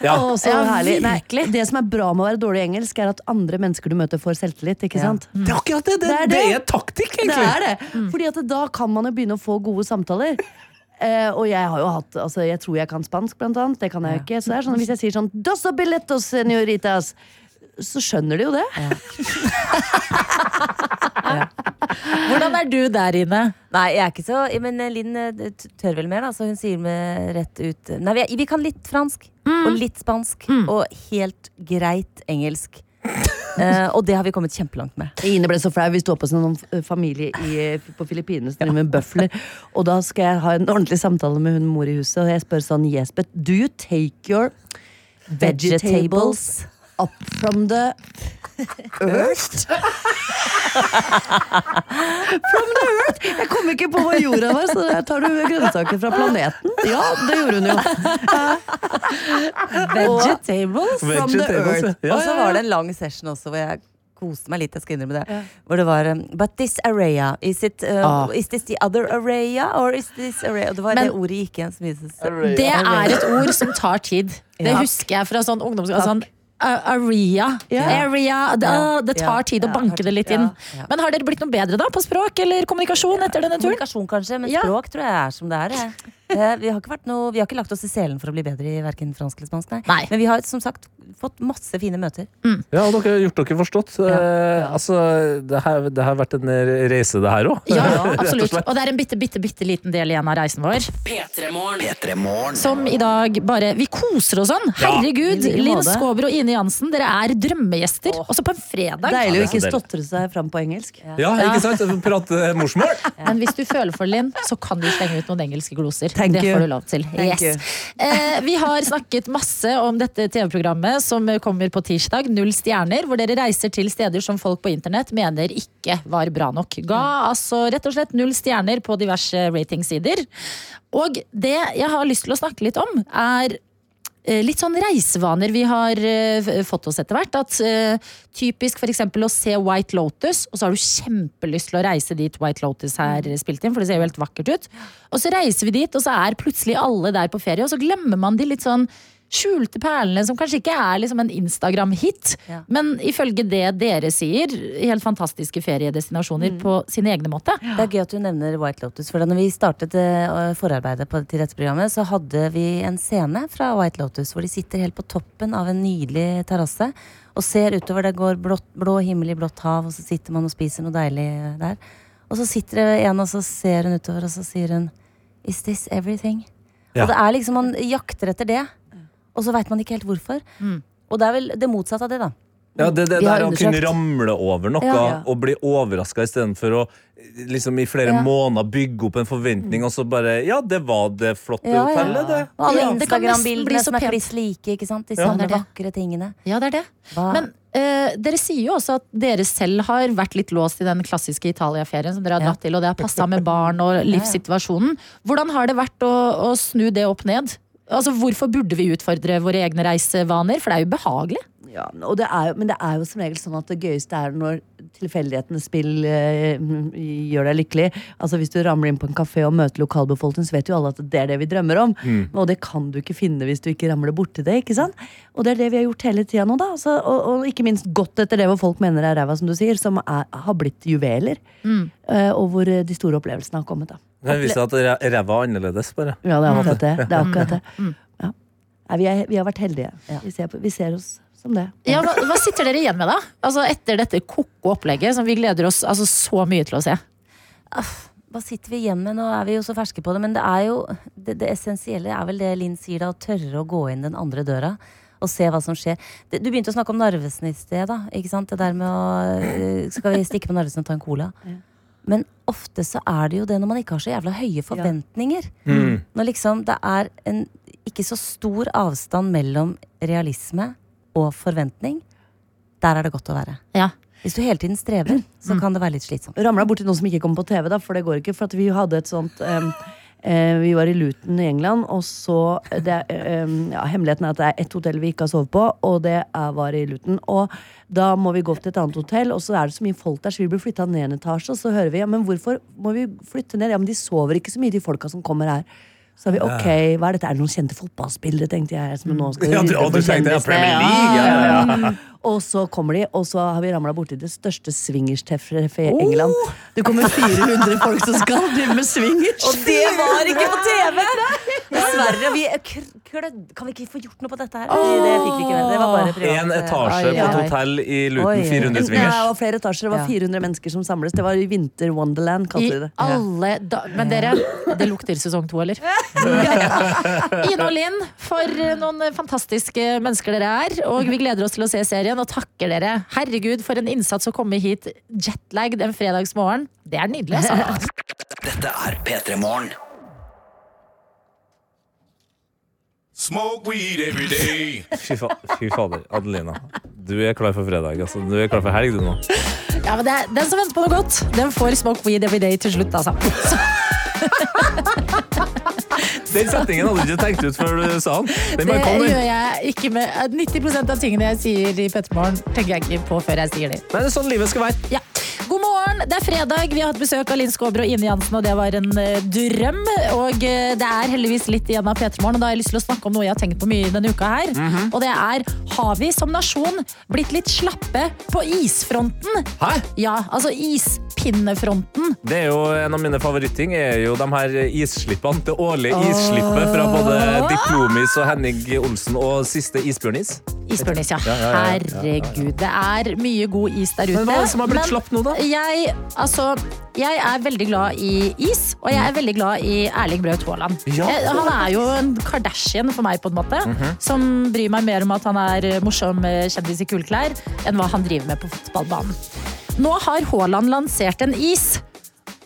Ja.
Å, så
Ja, herlig. Nei,
virkelig.
det som er bra med å være dårlig i engelsk, er at andre mennesker du møter, får selvtillit. ikke
Ja.
sant?
Det er akkurat det! Det,
Det er det.
det er taktikk,
Det
egentlig.
er det! Fordi at da kan man jo begynne å få gode samtaler. Eh, og jeg har jo hatt altså, Jeg tror jeg kan spansk, blant annet. Det kan jeg jo ikke. Så det er sånn, at hvis jeg sier sånn Dos billetos, senoritas, så skjønner de jo det.
Hvordan er du der inne?
Nei, jeg er ikke så Men eh, Linn eh, t- tør vel mer, da, så hun sier med rett ut Nei,
Mm.
vi, er- vi kan litt fransk og litt spansk og helt greit engelsk. Eh, og det har vi kommet kjempelangt med.
Ine ble så flau. Vi sto oppe hos en eh, familie i, på Filippinene som driver med bøfler. Og da skal jeg ha en ordentlig samtale med hun mor i huset, og jeg spør sånn Yes, but do you take your vegetables up from the earth? from the earth! Jeg kom ikke på hva jorda var, så der tar du grønnsaker fra planeten. Ja, det gjorde hun jo.
Vegetables
from the Vegetables, earth. ja.
Og så var det en lang session også hvor jeg koste meg litt. jeg skal innrømme det Hvor det var um, But this area, is it uh,
Ah.
Is this the other area, or is this area? Og det var
Men-
det ordet gikk igjen så mye. så-
Det er et ord som tar tid. Det
Ja.
husker jeg fra sånn ungdomsskole. Sånn, a- area. area. Det,
Ja.
det tar tid å banke det litt inn. Men har dere blitt noe bedre da på språk eller kommunikasjon etter denne turen?
Kommunikasjon kanskje, men språk tror jeg er som det er. jeg. Eh, Vi har, ikke vært noe, vi har ikke lagt oss i selen for å bli bedre i hverken fransk eller spansk. Nei. Men vi har som sagt fått masse fine møter.
Ja, og dere har gjort dere forstått. Eh, altså, det, her, det har vært en reise, det her òg.
Ja, absolutt. Og det er en bitte, bitte, bitte liten del igjen av reisen vår. Som i dag bare Vi koser oss sånn.
Ja.
Herregud.
I like
Linn
måte.
Skåber og Ine Jansen, dere er drømmegjester. Også på en fredag.
Ja,
Deilig å
det
ikke
er så
stotre seg fram på engelsk.
Ja, ikke sant? Prate morsmål.
Men hvis du føler for det, Linn, så kan du slenge ut noen engelske gloser.
Thank
det
you.
får du lov til.
Thank you.
Yes. Eh, vi har snakket masse om dette TV-programmet som kommer på tirsdag, Null stjerner, hvor dere reiser til steder som folk på internett mener ikke var bra nok. Ga altså rett og slett null stjerner på diverse ratingsider. Og det jeg har lyst til å snakke litt om, er eh, Litt sånn reisevaner vi har eh, f- fått oss etter hvert. At eh, Typisk for eksempel å se White Lotus, og så har du kjempelyst til å reise dit White Lotus her spilt inn, for det ser jo helt vakkert ut. Og så reiser vi dit, og så er plutselig alle der på ferie, og så glemmer man de litt sånn skjulte perlene som kanskje ikke er liksom en Instagram-hit, men ifølge det dere sier, helt fantastiske feriedestinasjoner på sin egne måte.
Det er gøy at du nevner White Lotus. For da når vi startet eh, forarbeidet på, til dette programmet, så hadde vi en scene fra White Lotus hvor de sitter helt på toppen av en nydelig terrasse og ser utover. Der går blått, blå himmel i blått hav, og så sitter man og spiser noe deilig eh, der. Og så sitter det en, og så ser hun utover, og så sier hun Is this everything?
Ja.
Og det er liksom, man jakter etter det, og så veit man ikke helt hvorfor. Og det er vel det motsatte av det, da.
Ja, det, det
Vi
der
har
å kunne
undersøkt.
ramle over noe
Ja, ja.
og bli overraska istedenfor å liksom, i flere
Ja.
måneder bygge opp en forventning, og så bare Ja, det var det flotte hotellet, det.
Og alle
Ja. Det kan nesten bli
Instagram-bildene
så
som er
pent.
kliss like. ikke sant?
Ja.
De samme
Det er det.
vakre tingene.
Ja, det er det. Men eh, dere sier jo også at dere selv har vært litt låst i den klassiske Italia-ferien som dere har dratt til, og det har passa med barn og livssituasjonen. Hvordan har det vært å, å snu det opp ned? Altså, Hvorfor burde vi utfordre våre egne reisevaner? For det er jo behagelig.
Ja, og det er, jo- men det er jo som regel sånn at det gøyeste er når tilfeldighetenes spill eh, gjør deg lykkelig. Altså Hvis du ramler inn på en kafé og møter lokalbefolkningen, så vet jo alle at det er det vi drømmer om.
Mm.
Og det kan du ikke finne hvis du ikke ramler borti det. ikke sant? Og det er det vi har gjort hele tida nå, da. Altså, og, og ikke minst godt etter det hvor folk mener er ræva, som du sier, som er, har blitt juveler. Eh, og hvor eh, de store opplevelsene har kommet, da.
Det viser at ræ- ræva er annerledes, bare.
Ja, det er akkurat det. det, er akkurat det. Mm. Ja. Nei, vi, er, vi har vært heldige. Vi, ser på, vi ser oss som det.
Ja, hva, hva sitter dere igjen med, da? Altså, Etter dette ko-ko opplegget, som vi gleder oss altså, så mye til å se.
Hva sitter vi igjen med? Nå er vi jo så ferske på det, men det er jo det, det essensielle er vel det Linn sier, da, å tørre å gå inn den andre døra. Og se hva som skjer. Det- Du begynte å snakke om Narvesen i sted. da, ikke sant? Det der med å eh, Skal vi stikke på Narvesen og ta en cola? Men ofte så er det jo det når man ikke har så jævla høye forventninger.
Mm.
Når liksom det er en ikke så stor avstand mellom realisme og forventning, der er det godt å være. Hvis du hele tiden strever, så kan det være litt slitsomt.
Ramla borti noen som ikke kom på TV, da, for det går ikke. For at vi hadde et sånt em, eh, Vi var i Luton i England, og så eh, det, er, em, ja, Hemmeligheten er at det er ett hotell vi ikke har sovet på, og det er, var i Luton. Og da må vi gå opp til et annet hotell, og så er det så mye folk der, så vi blir flytta ned en etasje, og så hører vi ja, men hvorfor må vi flytte ned? Ja, men de sover ikke så mye, de folka som kommer her. Så er vi, ok, hva er dette? Er det noen kjente fotballspillere, tenkte jeg. Som nå skal
Ja, du-
rydde
og du
for
tenkte, ja,
kjendisene.
Premier League, ja, ja, ja.
Og så kommer de, og så har vi ramla borti det største swingerstreffet i England. Det kommer 400 folk som skal drive med swingers.
Og det var ikke på TV! Dessverre. Vi kr- klødd. Kan vi ikke få gjort noe på dette her? Nei, det fikk vi ikke med. Det var bare privat. eh,
En etasje
Ai,
på et
ai.
hotell i
Oi.
Luton,
Nei, Det
400-svingers.
var flere etasjer, det var 400 mennesker som samles. Det var Winter Wonderland,
I
kalte de det.
alle da Men dere, det lukter sesong to, eller? Ine og Linn, for noen fantastiske mennesker dere er. Og vi gleder oss til å se serien og takker dere. Herregud, for en innsats å komme hit jetlagd en fredagsmorgen. Det er nydelig, altså.
Dette er P3 Morgen.
Smoke weed every day.
Fy, fa fy fader, Adelina. Du er klar for fredag. Altså. Du er klar for helg, du nå.
Ja, men det er, den som venter på noe godt, den får smoke weed every day til slutt, altså. Så,
Den setningen hadde du ikke tenkt ut før du sa den.
det
Den bare kom,
gjør
den.
jeg ikke med 90 av tingene jeg sier i Pettermorgen, tenker jeg ikke på før jeg sier det.
Nei, det er sånn livet skal være.
Ja. God morgen, det er fredag. Vi har hatt besøk av Linn Skåber og Ine Jansen, og det var en eh, drøm. Og eh, det er heldigvis litt igjen av P3morgen, og da har jeg lyst til å snakke om noe jeg har tenkt på mye denne uka her.
Mhm.
Og det er har vi som nasjon blitt litt slappe på isfronten?
Hæ?
Ja, altså ispinnefronten.
Det er jo En av mine favoritting er jo de her isslippene. Det årlige isslippet fra både Diplomis og Henning Olsen og siste Isbjørnis.
Isbjørnis, ja.
Ja, ja, ja, ja, ja, ja.
Herregud, det er mye god is der ute.
Men hva er det som har blitt
Men
slapp nå, da?
Jeg, altså, jeg er veldig glad i is, og jeg er veldig glad i Erling Braut Haaland.
Ja.
Jeg- Han er jo en Kardashian for meg, på en måte.
Mhm.
Som bryr meg mer om at han er morsom eh, kjendis i kuleklær, enn hva han driver med på fotballbanen. Nå har Haaland lansert en is.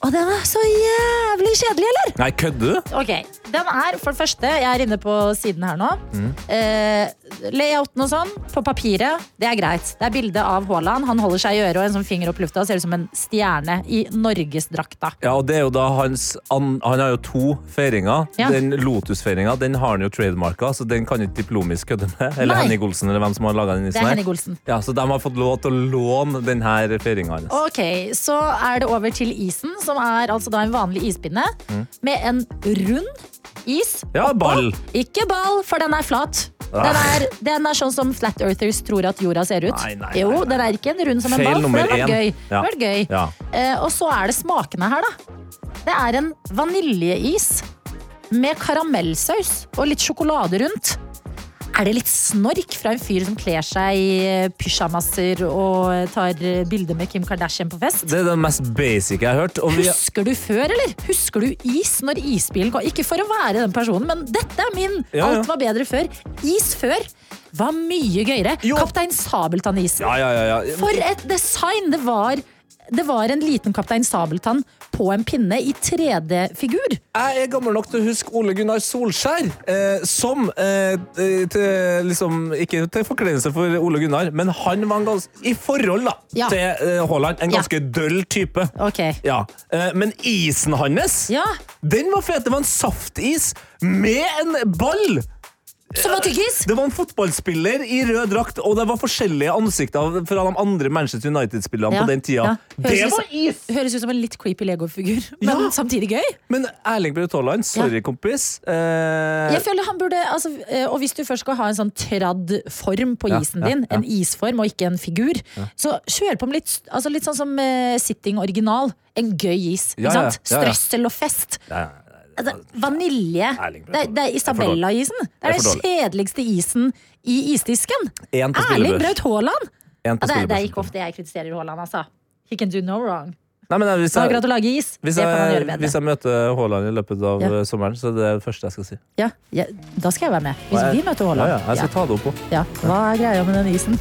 Og den er så jævlig kjedelig, eller?
Nei, kødder du?
Ok, den er for det første Jeg er inne på siden her nå
Mm.
eh, Layouten og sånn På papiret, det er greit Det er bildet av Haaland, han holder seg i øret Og en sånn finger opp lufta, ser ut som en stjerne I Norgesdrakta
Ja, og det er jo da hans, han, han har jo to feiringer.
Ja.
Den Lotus-feiringa den har han jo trademarka, så den kan ikke Diplomis kødde med. Eller
Nei.
Henning Olsen, eller hvem som har laga den.
Det
isen
er
her.
Henning Olsen.
Ja, Så de har fått lov til å låne den her feiringa hans.
Ok, så er det over til isen Som er altså da en vanlig ispinne
Mm.
Med en rund is
Ja, ball.
Ikke ball, for den er flat den er, den er sånn som flat earthers tror at jorda ser ut
Nei, nei, nei,
Jo, den er ikke en rund som en
Feil
ball For
nummer
den var
én.
gøy, Den
Ja.
var gøy.
Ja.
Eh, og så er det smakene her, da. Det er en vaniljeis med karamellsaus og litt sjokolade rundt. Er det litt snork fra en fyr som kler seg i eh, pysjamaser og tar eh, bilde med Kim Kardashian på fest?
Det er det mest basic jeg har hørt. Og vi,
Husker du før, eller? Husker du is når isbilen kom? Ikke for å være den personen, men dette er min.
Ja, ja.
Alt var bedre før. Is før var mye gøyere. Kaptein Sabeltann-isen.
ja, ja, ja, ja.
For et design! Det var, det var en liten Kaptein Sabeltann på en pinne i 3D-figur.
Jeg er gammel nok til å huske Ole Gunnar Solskjær eh, som eh, eh, til, liksom, Ikke til forkleinelse for Ole Gunnar, men han var en ganske I forhold da,
Ja.
til eh, Haaland, en ganske døll type. Ja. Eh, men isen hans, den var fet. Det var en saftis med en ball!
Som var tyggis?
Det var en fotballspiller i rød drakt, og det var forskjellige ansikter fra de andre Manchester United-spillerne
Ja,
på den tida.
ja.
Det
Høres
var
ut, is! Høres ut som en litt creepy Lego-figur, men samtidig gøy.
Men Erling Braut Haaland, sorry, kompis. Eh,
Jeg føler han burde, altså, eh, og Hvis du først skal ha en sånn tradd form på
Ja,
isen
ja,
din,
ja.
en isform og ikke en figur, så kjør på med litt, altså litt sånn som eh, sitting original. En gøy is.
Ja,
ikke
ja,
sant?
ja, ja.
Strøssel og fest.
ja, ja.
Altså, vanilje. Det, er- det er Isabella-isen. Det
Jeg
er
får
den
dårlig.
kjedeligste isen i isdisken.
En på
Erling
spillebørs.
Braut Haaland!
En
Ja, det, er- det
på
er
spillebørsen.
ikke ofte jeg kritiserer Haaland, altså. He can do no wrong.
Nei, men eh, hvis
Han har akkurat å lage is.
Hvis
det kan han
jeg,
gjøre bedre.
hvis jeg møter Haaland i løpet av
Ja.
eh, sommeren, så er det det første jeg skal si.
Ja, ja, da skal jeg være med. Hvis
Og jeg-
vi møter Haaland.
Ja, ja, jeg skal ta det opp også.
Ja, Hva er greia med den isen?